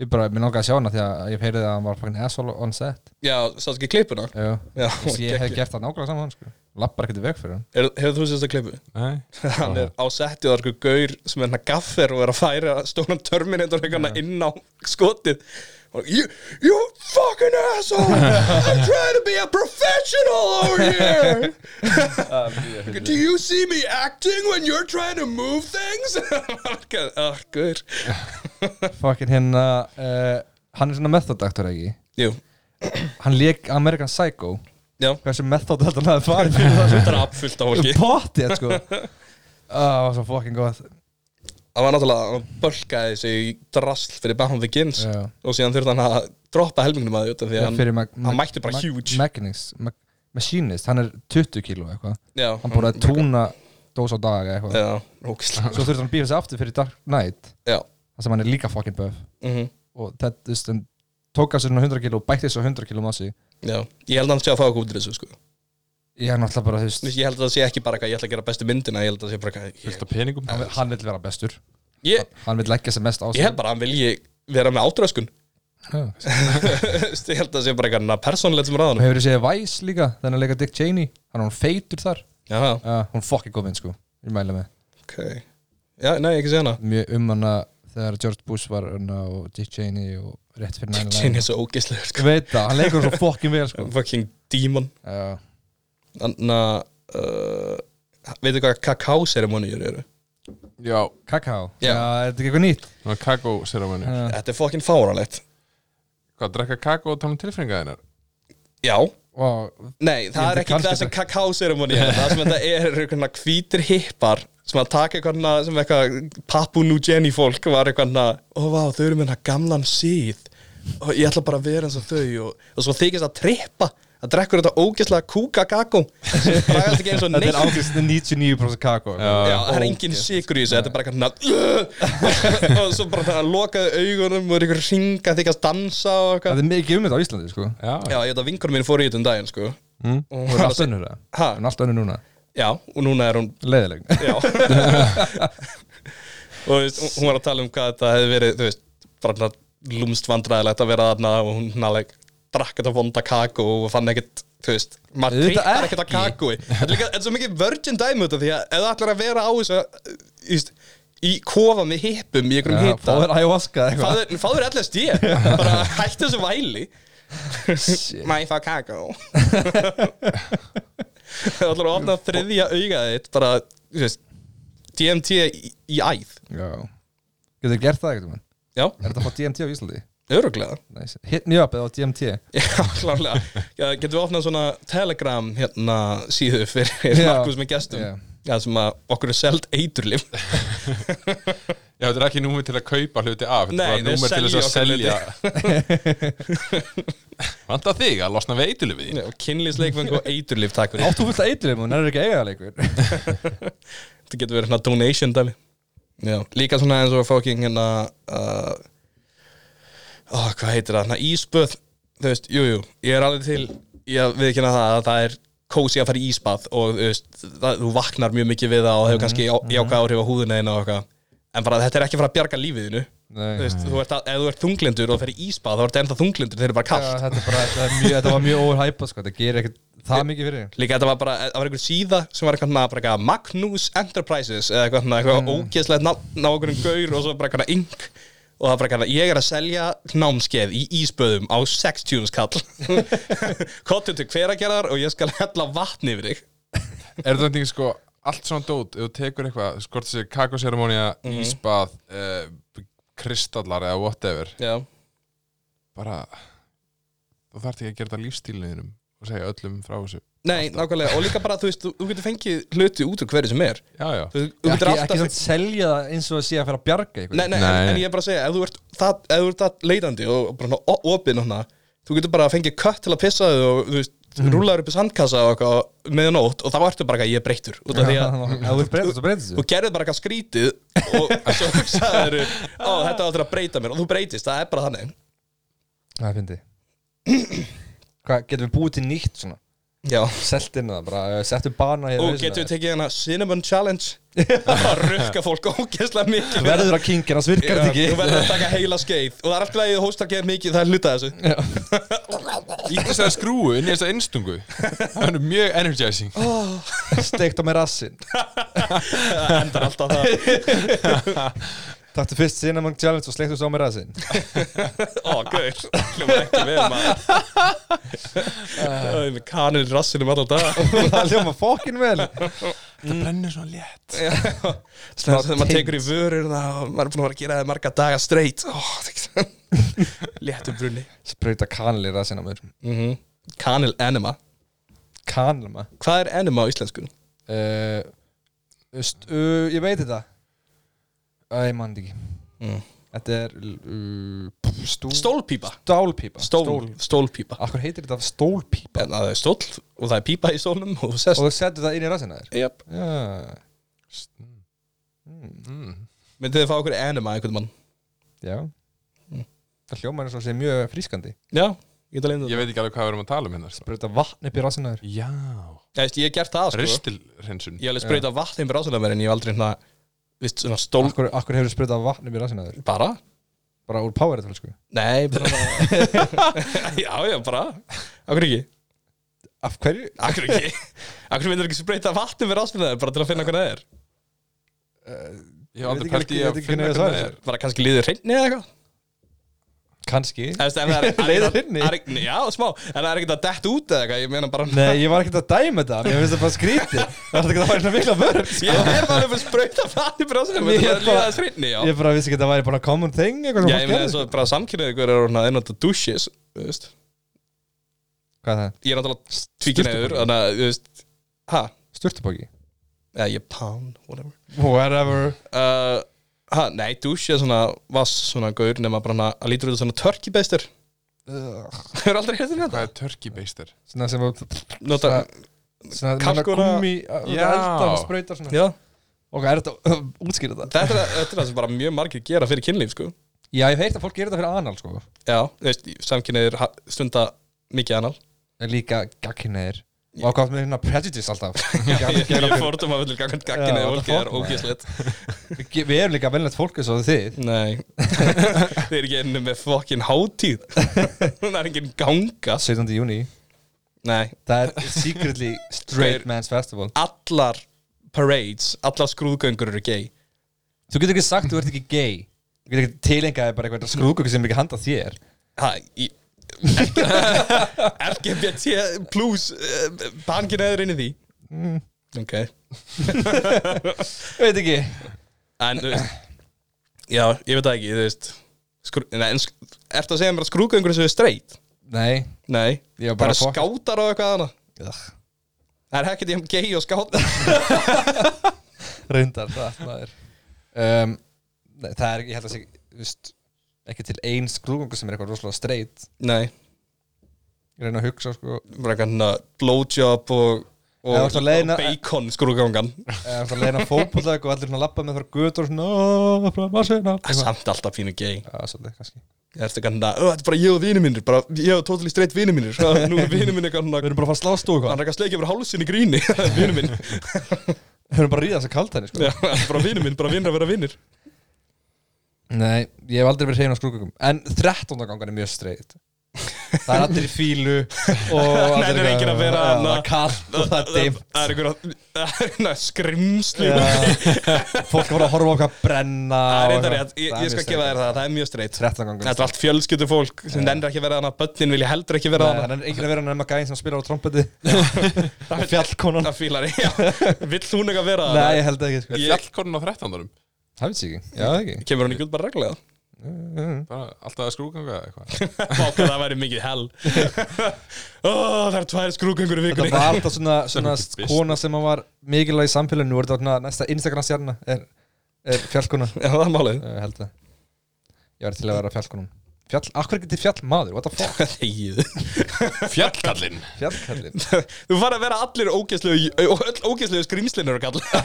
Ég bara, mér langaði að sjá hana því að ég heyrði að hann var fucking asshole on set
Já, sátt ekki klippuna?
Já,
<laughs> Já,
ég hef
geggjað.
gert það nákvæmlega saman sko. Lappar ekkert í veg fyrir hann
Er, hefur þú sérst að klippu? <laughs>
Nei
Hann er á setti og það er hérna eitthvað gaur sem er hann gaffer og er að færa stóran Terminator eitthvað inn á hérna skotið Og You, you fucking asshole I'm
<laughs>
trying to be a professional over here <laughs>
Ah,
Do you see me acting when you're trying to move things? <laughs> Ah, guður
Fucking hérna uh, Hann er svona method actor ekki
Jú,
Hann lék American Psycho
já
Hversu method heldur hann að farið fyrir
<laughs>
það
Drap fullt af fólki
Pottið sko
<laughs>
Ah, Það var svo fucking gott
Það var náttúrulega, hann bölkaði sig í drasl fyrir Bound the Gins
Já.
og síðan þurfti hann að droppa helmingnum að því út af því að hann,
Fyrir Mac-
hann
Mac-
mætti bara
Mac-
huge
Machinist- Mac- Machinist, hann er 20 kíló eitthvað
já,
Hann búið að
Mm,
túna dós á dag eða eitthvað
já,
<laughs>
ógislega
Svo þurfti hann að býja sig aftur fyrir Dark Knight
já,
Það sem hann er líka fucking buff
mm
Og þetta, þú veist, hann tók af sér svona 100 kíló og bætti þessu 100 kíló massi
já ég held að hann sé að fá okkur út í þessu sko
Ég er náttúrulega bara, þú
Þú
veist
veist, ég held að það sé ekki bara eitthvað, ég ætla að gera bestu myndina ég held að það sé bara eitthvað ég,
Fyllt af peningum
Hann vill- hann vill vera bestur
ég,
Hann vill leggja sem mest á
ég
sig
held bara að hann vilji vera með <laughs> átröskun
Já.
ég held að það sé bara eitthvað persónlegt sem
Og
ráðan
hefur þið séð Vice líka, þannig að leika Dick Cheney Hann er hún feitur þar
já, já,
uh, Hún er fucking góð mynd sko, ég mæla með
ok já, nei, ekki sé hana
Mjög um hana þegar George Bush var hana og Dick Cheney og rétt fyrir
Dick
9/11.
Cheney er svo ógislega
Ég
sko
veit það, hann leikur
<laughs>
svo fokkin vel sko
fucking demon
Já,
þannig að uh, veitu hvað kakao-seremonýjur eru
Já,
kakao,
Já.
já, þetta er ekki eitthvað nýtt
svona kakó seramönu
Já.
Þetta er fokkin fáralegt
Hvað, drekka kakó og tala um tilfinninga þeinar?
Já,
Og
nei, það
Ég
er
myndi
ekki
kannski
það sem kakao-seremoni Það sem þetta er eru eitthvað hvítir hippar sem að taka eitthvað sem eitthvað Papu New Jenny fólk var eitthvað ó vá, þau eru með hérna gamlan síð og ég ætla bara að vera eins og þau og, og svo þykist að trippa að drekkur þetta ógeðslega kúka kakó sem bræðast ekki eins og
þetta
neitt
er ágæst 99% kakao
Já, það er engin sigur í þessu, þetta er bara eitthvað svona- <laughs> og svo bara það lokaði augunum og er eitthvað ringa þykast dansa og eitthvað
Það er mikið um þetta á Íslandi sko
Já,
Já, ég veit að vinkunum mín fór í þetta um daginn, sko
mm. Hún
Og
er
hann
allt önnur það,
Ha?
hún er allt önnur núna
Já, og núna er hún
Leðileg
Já Og <laughs> þú veist, hún- hún var að tala um hvað þetta hefði verið, þú veist bara svona lúmst vandræðilegt að vera þarna og hún nálega drakk þetta vonda kakó og fann ekkert, þú veist maður
Auðvitað
trippar ekkert að
ekki.
kakói Þetta er líka, þetta er svo mikið virgin dæmi út af því að ef það ætlar að vera á þessu þú veist, í kofa með hippum í einhverjum
Já,
hita
Fáður ayahuasca eða eitthvað
Fáður, fáður allast
<laughs>
ég bara hættu þessu væli Má ég fá kakó <laughs> Það ætlar að opna þriðja augað þitt bara, þú veist DMT í, í æð
Já Getur þið gert það eitthvað mann?
Já,
Er þetta á DMT á Íslandi?
öruglega
Nice. Hit me up eða á DMT
<laughs> Já, klárlega Já, Getum við opnað svona telegram hérna síðu fyrir
Já.
Markus með gestum <laughs>
Já.
Já, sem að okkur er seld eiturlif
Já, þetta er ekki númer til að kaupa hluti af Þetta
Nei,
er
þeir
bara númer til þess að
selja
selja Vanta þig að losna við eitilu
<laughs>
við
Kynlýsleikvöng og eiturlif, takk fyrir
Áttu fullt að eitrið mun, það er ekki eiga leikur
Þetta getur verið hérna donation dæmi Já, líka svona eins og fucking hérna uh, ó, Hvað heitir það? Hérna íspöð Þú veist, jú, jú, ég er alveg til Ég veit ekki hérna það að það er kósi að fara í íspað og þú veist, það, þú vaknar mjög mikið við það og hefur
Mhm,
kannski já, jákvæð áhrif á húðuna þína og eitthvað En bara þetta er ekki að fara að bjarga lífiðinu
Nei.
Þú veist, þú ert að, ef þú ert þunglindur og fer í íspað þá ert ennþá þunglindur þegar það er bara kallt
Já, þetta, er bara, þetta, er mjög, þetta var mjög overhypað sko. þetta gerir ekkert það mikið fyrir þig.
Líka þetta var bara, það var einhver síða sem var eitthvað, svona bara eitthvað Magnus Enterprises eða eitthvað, svona,
Mm.
eitthvað ógeðslegt nafn á einhverjum gaur og svo bara eitthvað ink og það var bara eitthvað, ég er að selja námskeið í ísböðum á 60 <laughs> skall Kottu til hveragerðar og ég skal hella vatni yfir þig
Er þetta ekki sko allt svona dót ef þú tekur eitthvað, skort þessi kakoseremónia íspað, uh, kristallar eða whatever
Já,
bara þú þarft ekki að gera þetta lífstílinuðinum og segja öllum frá þessu
nei, nákvæmlega og líka bara, þú veist, þú, þú getur fengið hluti út úr hverju sem er
Já, já,
Þú, þú
Ekki,
getur
ekki
alltaf
samt selja það eins og að sé að fara að bjarga ykkur
Nei, nei,
Nei.
En, en ég er bara að segja, ef þú ert það, ef þú ert það leitandi og bara svona o- opinn og hana, þú getur bara að fengja kött til að pissa þig og þú veist,
Mm.
rúlaður upp í sandkassa og eitthvað meðan ótt og þá ertu bara eitthvað, ég er breyttur út af því
Já, <laughs>
að
ef þú breytast, þú breytast
þú gerðir bara eitthvað skrítið
<laughs>
og svo hugsaður ó, þetta áttur að breyta mér og þú breytist, það er bara þannig
Það finnst þið Hvað, getum við búið til nýtt svona
Já,
Selt inn það bara, eh, settu bana hér
og getur við tekið hana Cinnamon <laughs> Challenge að rukka fólk ógeðslega mikið
Verður að kingin, hans virkar
Já,
þetta
Þú
ekki
verður að taka heila skeið og það er alltaf að ég hóstar geð mikið, það er hluta þessu
Ítti þess að skrúu inn í þessa einstungu Það er mjög energizing
<laughs>
Steikt á mér rassin
Það endar alltaf það
Takktu fyrst Cinnamon Challenge og sleiktu svo með ræðsinn
Ó, gauður, hljóma ekki vel maður Það er með kanil í rassinum alltaf dag
Það hljóma fokkin vel
Það brennir svona létt
Snæðast þegar maður tekur í vörur það og maður er búin að vera að gera það í marga daga straight Ó, <laughs> léttum brunni
Sprauta kanil í ræðsinn á mér
mm Kanil enema
Kanil maður
Hvað er enema á íslensku?
uh, st, uh, Ég veit þetta Æ, ég mann ekki
Mm.
Þetta er uh, stú,
Stólpípa
Stálpípa
Stól, stólpípa
Akkur heitir þetta stólpípa
En það er stól og það er pípa í stólnum og þú sest
Og þú setur það inn í ræðsinn að þér
Jöp
Já,
mm.
Myndið þið fá okkur enema einhvern mann?
já
Mm.
Það hljóma er svo sem mjög frískandi
Já, ég get að leina
Ég veit ekki alveg hvað við erum að tala um hérna sko.
Sprauta vatn upp í ræðsinn að þér
Já
það Ég hef gert það sko
Ristilrinsun
Ég hef alveg sprauta vatn í rásinum en ég hef aldrei hérna Vist svona stól
Akkur, akkur hefur sprautað vatn upp í ræðsinn að þér
Bara
Bara úr powerið sko
Nei, <laughs> bara Já, já, bara Akkur ekki
Af hverju?
Akkur ekki Akkur myndir ekki spreita vatnum við ráspinnaði bara til að finna hvernig það er
Ég hef
Eh, Ég veit
aldrei
ekki
pælt í
alveg- ég
að
veit ekki
finna
hvernig
hvernig
það
það
svarar.
er
Bara kannski liðið hreinni eða eitthvað
Kanski
Þú veist, en það er- það
Leiðir
er ekkert að-
hreinni?
það er ekkert- Já, smá En það er ekkert að dett út eða eitthvað Ég meina bara
Nei, ég var ekkert að dæma þetta Mér finnst það bara skríti Það er ekkert að fara svona mikla vörn sko.
<laughs> Ég er bara að spreita vatnum við ráspinnaði
Ég
Það er
er
líðið
bara-
aðeins hreinni, já
Ég bara vissi ekki að það væri bara common thing eitthvað sem
Já,
fólk
ég meina
gerði,
þess
sko.
að bara samkynnaði ykkur er orðin að einnota douches Þú veist
Hvað er það?
Ég er náttúrulega tvíkinæður
Sturtupakki.
Þannig að, þú veist Ha?
Sturtupóki
Eða ég er pound, whatever
Whatever
uh, ha, Nei, douche er svona Vass svona gaur nema bara hana Að lítur út af svona turkey beistir
Ugh.
Þau eru aldrei hefðið
Hvað
þetta
er turkey based
Svona sem að
Nota,
Svona manna
Kalkuna-
gummi
Já.
Elda og sprautar svona
já,
Og er þetta að útskýra það?
uh, þetta, er- þetta er það sem bara mjög margir gera fyrir kynlíf sko.
Já, ég hef heyrt að fólk gerir þetta fyrir anal sko
Já, þú veist, samkynniðir ha- stunda mikið annal
En líka gagkinneir Og ákvæmt með hérna prejudice
<laughs>
alltaf Gagn-
Ég
gera
er
fyrir-
fordum að vilja gangið
Já,
gagginniðir
what
Fólki
the
er
fuck,
ógíslegt
Við við erum líka velnætt fólk eins og þið
Nei, <laughs> þeir eru ekki enni með fokkin
<laughs>
hátíð Það er engin ganga
17. júni
Nei,
Það er secretly straight
Þeir-
man's festival
allar parades, allar skrúðgöngur eru gay
Þú getur ekki sagt þú ert ekki gay Þú getur ekki tilengaði bara eitthvað skrúðgöku sem er ekki handað þér
Ha, í
<laughs>
<laughs> LGBT plus uh, Bangin eður inn í því
Mm.
Ok
Veit ekki
En þú veist Já, ég veit það ekki, þú veist skrú, nei, en, sk- Ertu að segja mér að skrúðgöngur sem er straight?
Nei
Nei
Ég var
Það
bara
eru skátar og eitthvað annað
Ugh,
Það er ekkert ég um gay og skátar
Reyndar það maður um, nei, Það er ekki, ég held að segja viðst, Ekki til ein skrúðgöku sem er eitthvað rosalega straight
Nei,
Ég reyna að hugsa sko
bara eitthvað blowjob og, og,
Eða ertu að leiðina-
og bacon skrúðgangan
Það er að leina fótbolleik og allir svona lappa með þar götur og svona "Ó, frá Barcelona", eitthvað.
Samt alltaf pínu gay
Já, svolítið, kannski
Það er eitthvað, "Ó, þetta er bara ég og vinur mínir bara, Ég og totally straight vinur mínir Nú er vinur minn eitthvað
Við erum bara að fara að slást og eitthvað
hann er ekki að sleikja fyrir hálsinn í gríni <laughs> vinur minn
Við erum bara að ríða þess að kalta henni sko
Já, bara vinur minn, bara vinur að vera vinur
Nei, ég hef aldrei verið hrein á skrúkugum En 13. gangan er mjög streit Það er allir í fílu og
<laughs> Nei, það er enginn að vera
Já,
hana-
Það er kallt og það er dim
það er einhverja <laughs> skrimsli
Já.
það
Fólk er bara að horfa á hvað brenna
er
og
eitthvað
eitthvað.
rétt, ég,
Það er
ég
mjög
skal gefa
streitt.
þér það, það er mjög streitt
13. gangan
Þetta er allt fjölskyldu fólk sem nendur ekki að vera hana Bönnin vilja heldur ekki vera
Það
hana
er enginn að vera nema gæðin sem spilar á
<laughs>
trompeti Og fjallkonan
Það
<laughs>
fílar ég, já, vill hún ekki að vera
Nei,
hana
ég held ekki sko
Ég-
Fjallkorn á 13.
Það veit ég ekki, já ekki
Kemur hún ekki út bara <laughs> reglega
Bara alltaf að skrúganga eða eitthvað
Fáka það væri mikið hell <laughs> Ó, Það er tvær skrúkengur í
Þetta
vikunni
var alltaf svona, svona
Sem fyrst.
kona sem að var mikilvæg í samfélaginu Nú er þetta svona næsta Instagram stjarna er, er fjallkona
<laughs> Já, það er málið
uh, held það ég var til að vera fjallkonum fjall, akkur ekki til fjallmaður, what the <laughs> fuck
<laughs> Þegið
Fjallkallinn
fjallkallin,
Þú fara að vera allir ógeðslegu og öll ógeðslegu skrýmslinur að kalla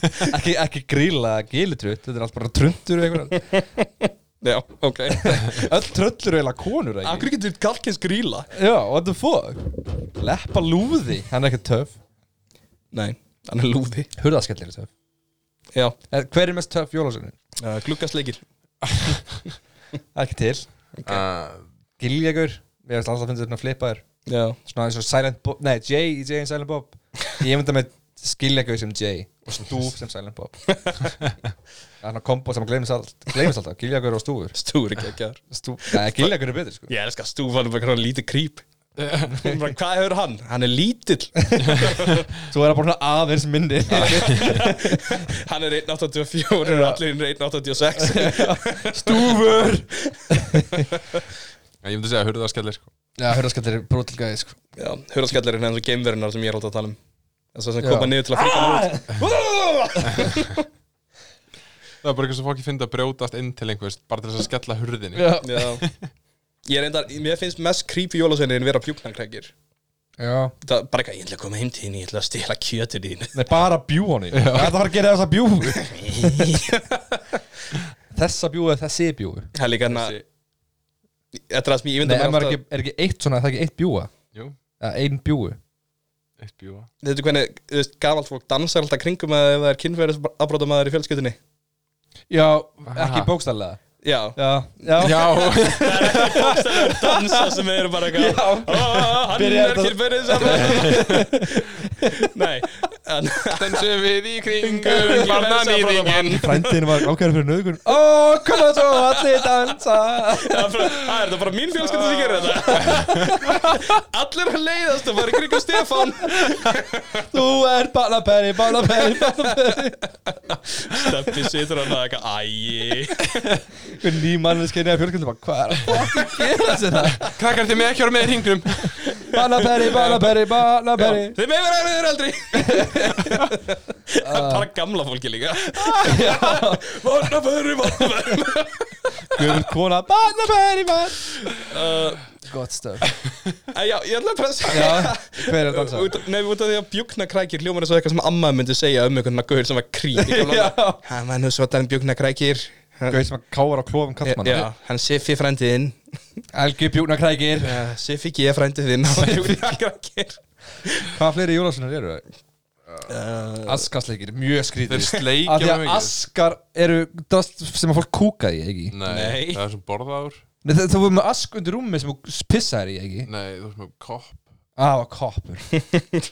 <laughs>
ekki, ekki gríla gilitrut, þetta er allt bara tröndur öll
Já, ok
tröllur eru eiginlega konur ekki?
Akkur getur kalkins gríla
já, what the fuck leppa lúði, hann er ekki töf
Nei, hann er lúði
hurðaskellir er töf,
Já,
Eh, hver er mest töf jólásunni?
uh, gluggasleikir
það er ekki til,
Ah,
giljagur við hefum alltaf fundið þetta flipaður
Já,
svona eins og Silent Bob, nei, Jay í Jay and Silent Bob ég mynda með skiljagjau sem Jay og stúf sem Silent <laughs> Bob þannig að kombo sem gleymist allt gleymist alltaf, giljagjau og stúfur
Stúr ekki ekki þar
Stú, Nei, giljagjau er betur sko
Ég elska Stúf, hann er bara svona lítið krýp Bara, Hvað hefur hann? Hann er lítill
Svo er það bara svona aðeins minni
Hann er 1.84 og allir hinn er 1.86
Stúfur
Ég myndi segja að hurða að skellir sko.
Já, hörðaskallir er brutal gæði sko
Já, hurðaskallarinn er eins og geimverinar sem ég er alltaf að tala um Þess að sem
Já.
koma niður til að fríka hann út
Það er bara eitthvað sem fólki finnst að brjótast inn til einhvers bara til þess að skella hurðinni
Ah!
Já,
Já Ég er endar, mér finnst mest creepy jólasveinirinn vera bjúknarkrækir
Já.
Það bara eitthvað, ég ætla að koma heim til þín, ég ætla að stila kjötur þín
Nei, bara bjú honi Það er að fara að gera þessa bjú Þessa bjú eða þessi bjú Nei,
Það er líka hann að Þetta er það sem ég
en
mynda
maður er ekki, er ekki eitt svona, það er ekki eitt bjúa
Jú,
Eða ein bjúu
eitt bjúa
Þetta er hvernig, þú veist, gamalt fólk dansar alltaf kringum að ef það er kynferðis afbrótamaður í fjölskyldinni
Já, ekki bókstallega
Já,
Já, já,
Já,
dansa sem eru bara eitthvað "Ah, Hann
Byrjar
er
þetta-
kynferðis afbrótamaður
<laughs>
Nei, en
dansum við í kringum barnanýðingin
Frændin var ákæður fyrir nöðgun Ó, koma svo allir dansa
Það er bara- það er þetta bara mín fjölskylda sem gerir þetta
<laughs>
Allir að leiðast og bara í kringum Stefán
Þú ert bannabæri, bannabæri, bannabæri
Steppi situr hann að eitthvað Æi
Hver ný manneskinni af fjölskyldum bara, Hvað er að fucking gera <laughs> sér það?
Krakkar þið með ekki ára með í ringnum
Bannabæri, bannabæri, bannabæri
Þið með verður aðeins aldrei
<laughs>
Það er bara gamla fólki líka Vannafæri, vannafæri
Guðmund kona Bannabæri, bannabæri
uh,
Gott stöf
en Já, ég ætla bara að segja
Já, hver er að dansa?
Út- Nei, út af því að bjúknakrækir hljómar eins og eitthvað sem amma myndi segja um einhvern guður sem var krík <laughs>
Já.
Hann var nú svo að það er bjúknakrækir
Guð sem að kára á klófum
Já,
kallmann
hann Siffi frændiðinn
Elgi bjúna krækir
uh, Siffi G frændiðinn <laughs> hann var bjúknakrækir
Hvað fleiri jólásunar eru það?
uh,
Askasleikir, mjög
<laughs> Þeir
skrítið
sleikja
Af því að
mikið.
askar eru drast sem að fólk kúka í, ekki?
Nei,
Nei.
það er sem borðaður
Nei, það, þú verður með ask undir rúmi sem þú pissar í, ekki?
Nei, þú veist með kopp
Á, ah, koppur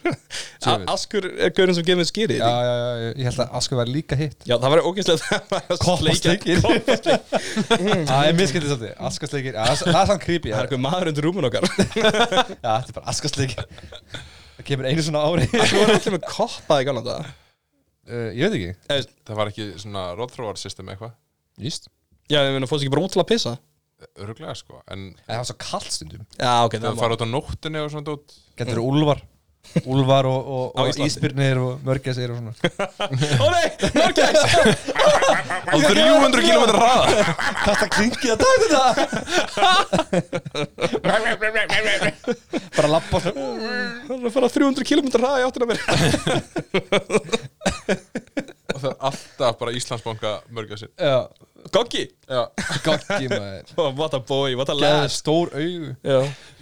Djöfull.
Askur er guðurinn sem gefur skýri
Já, já, já, ég- ég held að askur var líka hitt
Já, það var ógeðslega <laughs>
Koppasleikir.
Koppasleikir
Það er miskildið svolítið, askasleikir Já, Það það er samt creepy,
Það er
já,
eitthvað maður undir rúmun okkar
já, þetta er bara askasleikir Það kemur einu svona ári
<laughs> Þú voru allir með koppað í gamla þetta
uh, Ég veit ekki
Það var ekki svona rótþróarsystem eitthvað
Víst
Já, ég meina, fórst ekki bara út til að pissa
Öruglega sko, en
En það var svo kallt stundum
Já, ok,
það fara út á nóttunni og svona dót
Getur eru úlvar Úlvar og, og,
Á
og
Íslandi.
ísbyrnir og mörgæsir og <laughs> svona
Ó nei, Norgæs
Á 300 km hraða
Kasta klingið að dag þetta Bara lappa
Það er að fara 300 km hraða í áttina mér
Og það er alltaf bara Íslandsbanka mörgja sér
Já,
Goggi Já
goggi maður
Oh, What a boy, what a
Gæði
lad
stór augu
Já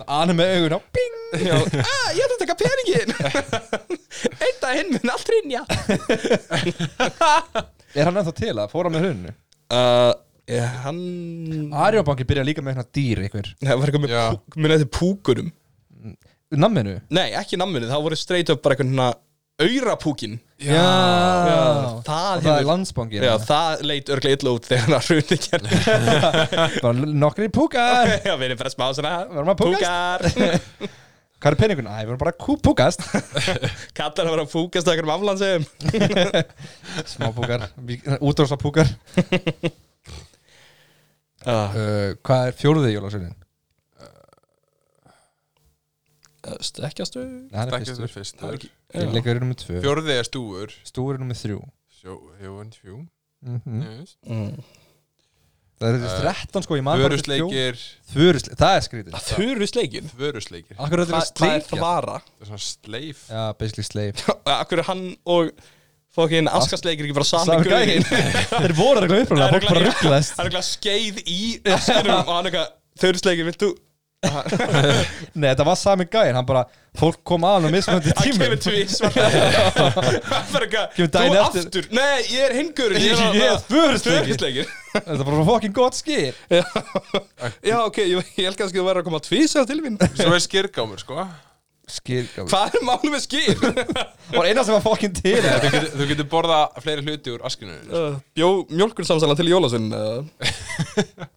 Anna með augun á Bing
Já Ah, ég ætla að taka <laughs> peningin Eitt að hinn minn allt rinja
Er hann ennþá til að fóra með hrunnu?
Uh, ég, hann
Arjóbanki byrja líka með hérna dýr einhver
Það var eitthvað með
Já.
púk, minna þetta púkurum
Namminu?
Nei, ekki namminu, það voru straight up bara eitthvað svona Aurapúkin
Já, já. Og
það
það er
hefur
landsbanki
Já, það leit örglega illa út þegar hann runi gerði
Bara nokkri púkar
Já, við erum bara smá svona
Varum að púkast?
<laughs>
Hvað er peningun? Æ, við erum bara kú- púkast
Kallar að vera að púkast okkur um aflandsegum
Smá púkar, útrósa púkar
uh,
uh, Hvað er fjóruði jólasögnin?
Stekkjastu
Nei, hann er
Stakkastu
fyrstur
fyrstur
Leikari nummið tvö
Fjórði er stúur
Stúri nummið þrjú
Sjóðan tjú
Mhm.
yes.
mm.
Það eru þessi
Eh,
13 sko, ég maður
Vörusleikir
Þvörusleikir Það er skrítið
Þurusleikin
Vörusleikir
Akkur þetta er
Hvað er
sleikja
það vara?
Það er svona sleif
Já, basically sleif
Akkur er hann og fokkin askasleikir ekki bara sami <laughs> gauðin
Þeir voru eitthvað uppræðan Fólk bara rugglaðist
Það er eitthvað skeið í askunum og hann eitthvað Þurusleikin, vilt þú?
<laughs> Nei, þetta var sami gæin Hann bara Fólk kom að hann á
<laughs>
mismöndi
Hann
tímum
kemur tvís Hann fer
Kemur
eitthvað
daginn
Þú
eftir.
aftur Nei, ég er hingurinn
Ég er þvörusleikir
Þurusleikin
Þetta er bara fucking gott skýr
Já, já ok, ég, ég held kannski að þú verður að koma að tvísa til mín
Svo er skirgámur sko
skil
Hvað er málum með skýr?
var eina sem var fokkin til
<laughs>
Nei, Þú getur, þú getur borða fleiri hluti úr askinu þinni.
Bjó mjölkursamsala til jólasvinn eða?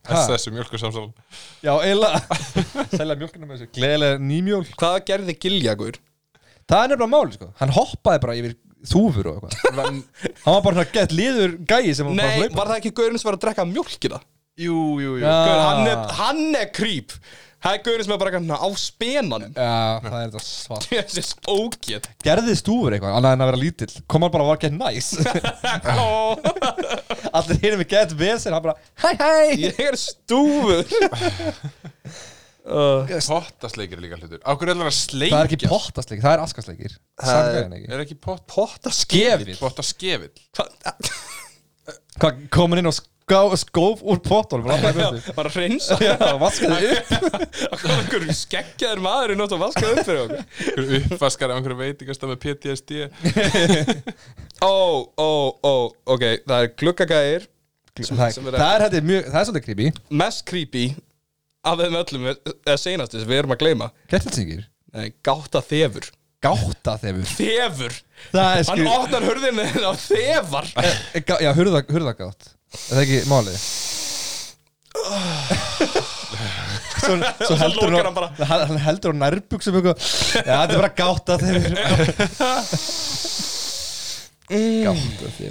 Þess þessu mjölkursamsal
já, eila selja mjölkina með þessu gleðilega nýmjólk
Hvað gerði giljagur?
það er nefnilega máli sko hann hoppaði bara yfir þúfur og eitthvað hann var bara svona gett liður gæi sem var bara
Nei,
að hlaupa
var það ekki gaurinn sem var að drekka mjölkina?
Jú, jú, jú
Já.
Gaur, hann,
Ah.
er, hann er creep Það er gaurinn sem er bara kannan á spenanum
já, það er þetta svart
Þessi spókið
gerði stúfur eitthvað annað en að vera lítill kom hann bara og var gett
<laughs>
næs
Ó,
allir hinum er gett vesir hann bara hæ hæ
Ég er stúfur uh,
Pottasleikir er líka hlutur Á hverju er það að sleikja?
það er ekki pottasleikir það er askasleikir
Það er-
samgæðin ekki
Er ekki pott,
Potta skefill
pottaskefil?
hvað komin inn og ská, skóf úr pottunum og lappaði burtu?
Bara að reynsa
já, vaskaði upp
Akkur skeggjaður maður er nátt að vaska upp fyrir okkur
Einhver uppvaskar af einhverju veitingastað með <laughs> PTSD
Ó, ó, ó, ok Það er gluggagæðir
það er,
sem er-
það er, þetta er mjög það er svolítið creepy
Mest creepy af þeim öllum er- eða seinastis, við erum að gleyma
kettilsingir
Nei, Gáta þefur
gáta þefur
Þefur
það er
Hann
skil
opnar hurðinu á þefar
E, gá- já, hurða, hurðagátt er það ekki málið svo, svo heldur
lokar
hún
hann bara.
á- hann hann heldur hún nærbuksum eitthvað já, þetta er bara gáta þefur gáta þefur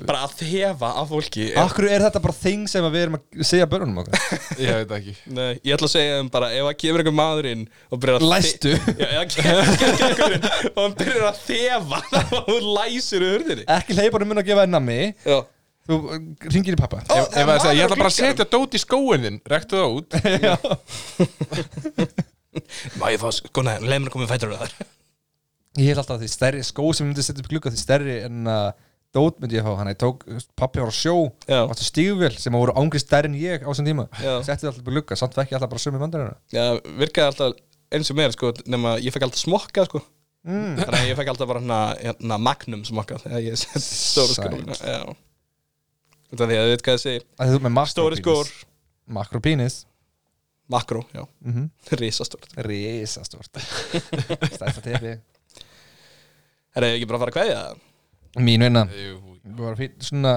Bara að þefa af fólki
Akkur er þetta bara þing sem að við erum að segja börnunum okkar?
Ég veit ekki
Nei, ég ætla að segja þeim bara ef það kemur einhver maður inn og byrjar að
Læstu.
þe- Já, ef það kemur einhver inn og hann byrjar að þefa <laughs> og hún læsir í hurðinni
Ekki leifunum mun að gefa þér nammi
Já
Þú ringir í pappa
Ef ef að segja, ég ætla bara að setja dót í skóin þinn Rektu það út
Má ég fá sko, nei, leið mér að koma í fætur á þar
Ég held alltaf að því stærri skó sem ég myndi setja upp í glugga því stærri en að dót myndi ég fá hann ég tók, pappi var á sjó
Já.
og átti stígvél sem voru ángri stærri en ég á þessum tíma
Já.
setti það alltaf upp í glugga, samt vekki alltaf bara sömu mandarina
Já, virkaði alltaf eins og meira sko nema ég fekk alltaf smokka sko
mm.
Þannig að ég fekk alltaf bara hana, hana magnum smokka þegar ég setti stóru skór
Sæt.
Já Þetta er því að þið veit hvað ég segi
Það þú ert með
Stóri skór,
makropínis Makropínis
makró, já,
mm -hmm.
risastórt <laughs>
Rísastort Stærsta tepi
Það er ekki bara að fara að kveðja það
Mín vinna
Jú,
bara fín, svona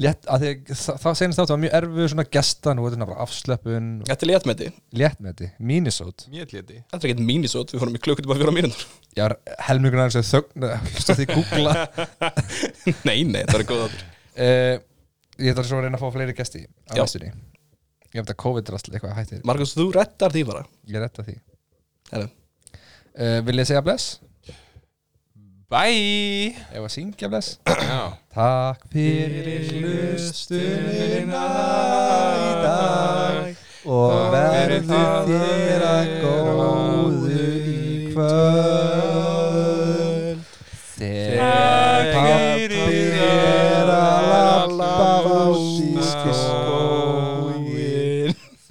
létt, að því það, það senast þáttu var mjög erfið svona gestan og þetta bara afslöpun og
Þetta er léttmeti
létt með þetta, mínisót
Mér léti
Þetta er ekkert mínisót, við fórum í klukkutíma fjóra mínútur
ég var helmingur aðeins að þögn hlusta því
<laughs>
googla
Nei, nei, þetta er góð áttur
uh, ég ætla svo að reyna að fá fleiri gesti á
Já.
næstunni ég hef þetta COVID-drastl eitthvað hættir
Markus, þú rettar því bara
ég retta því
Herru.
uh, vil ég segja bless?
<laughs> Bye
ef að syngja bless?
Já
takk fyrir hlustunina í dag og verður þér að góðu í kvöld þegar pappi er að lappa út í skói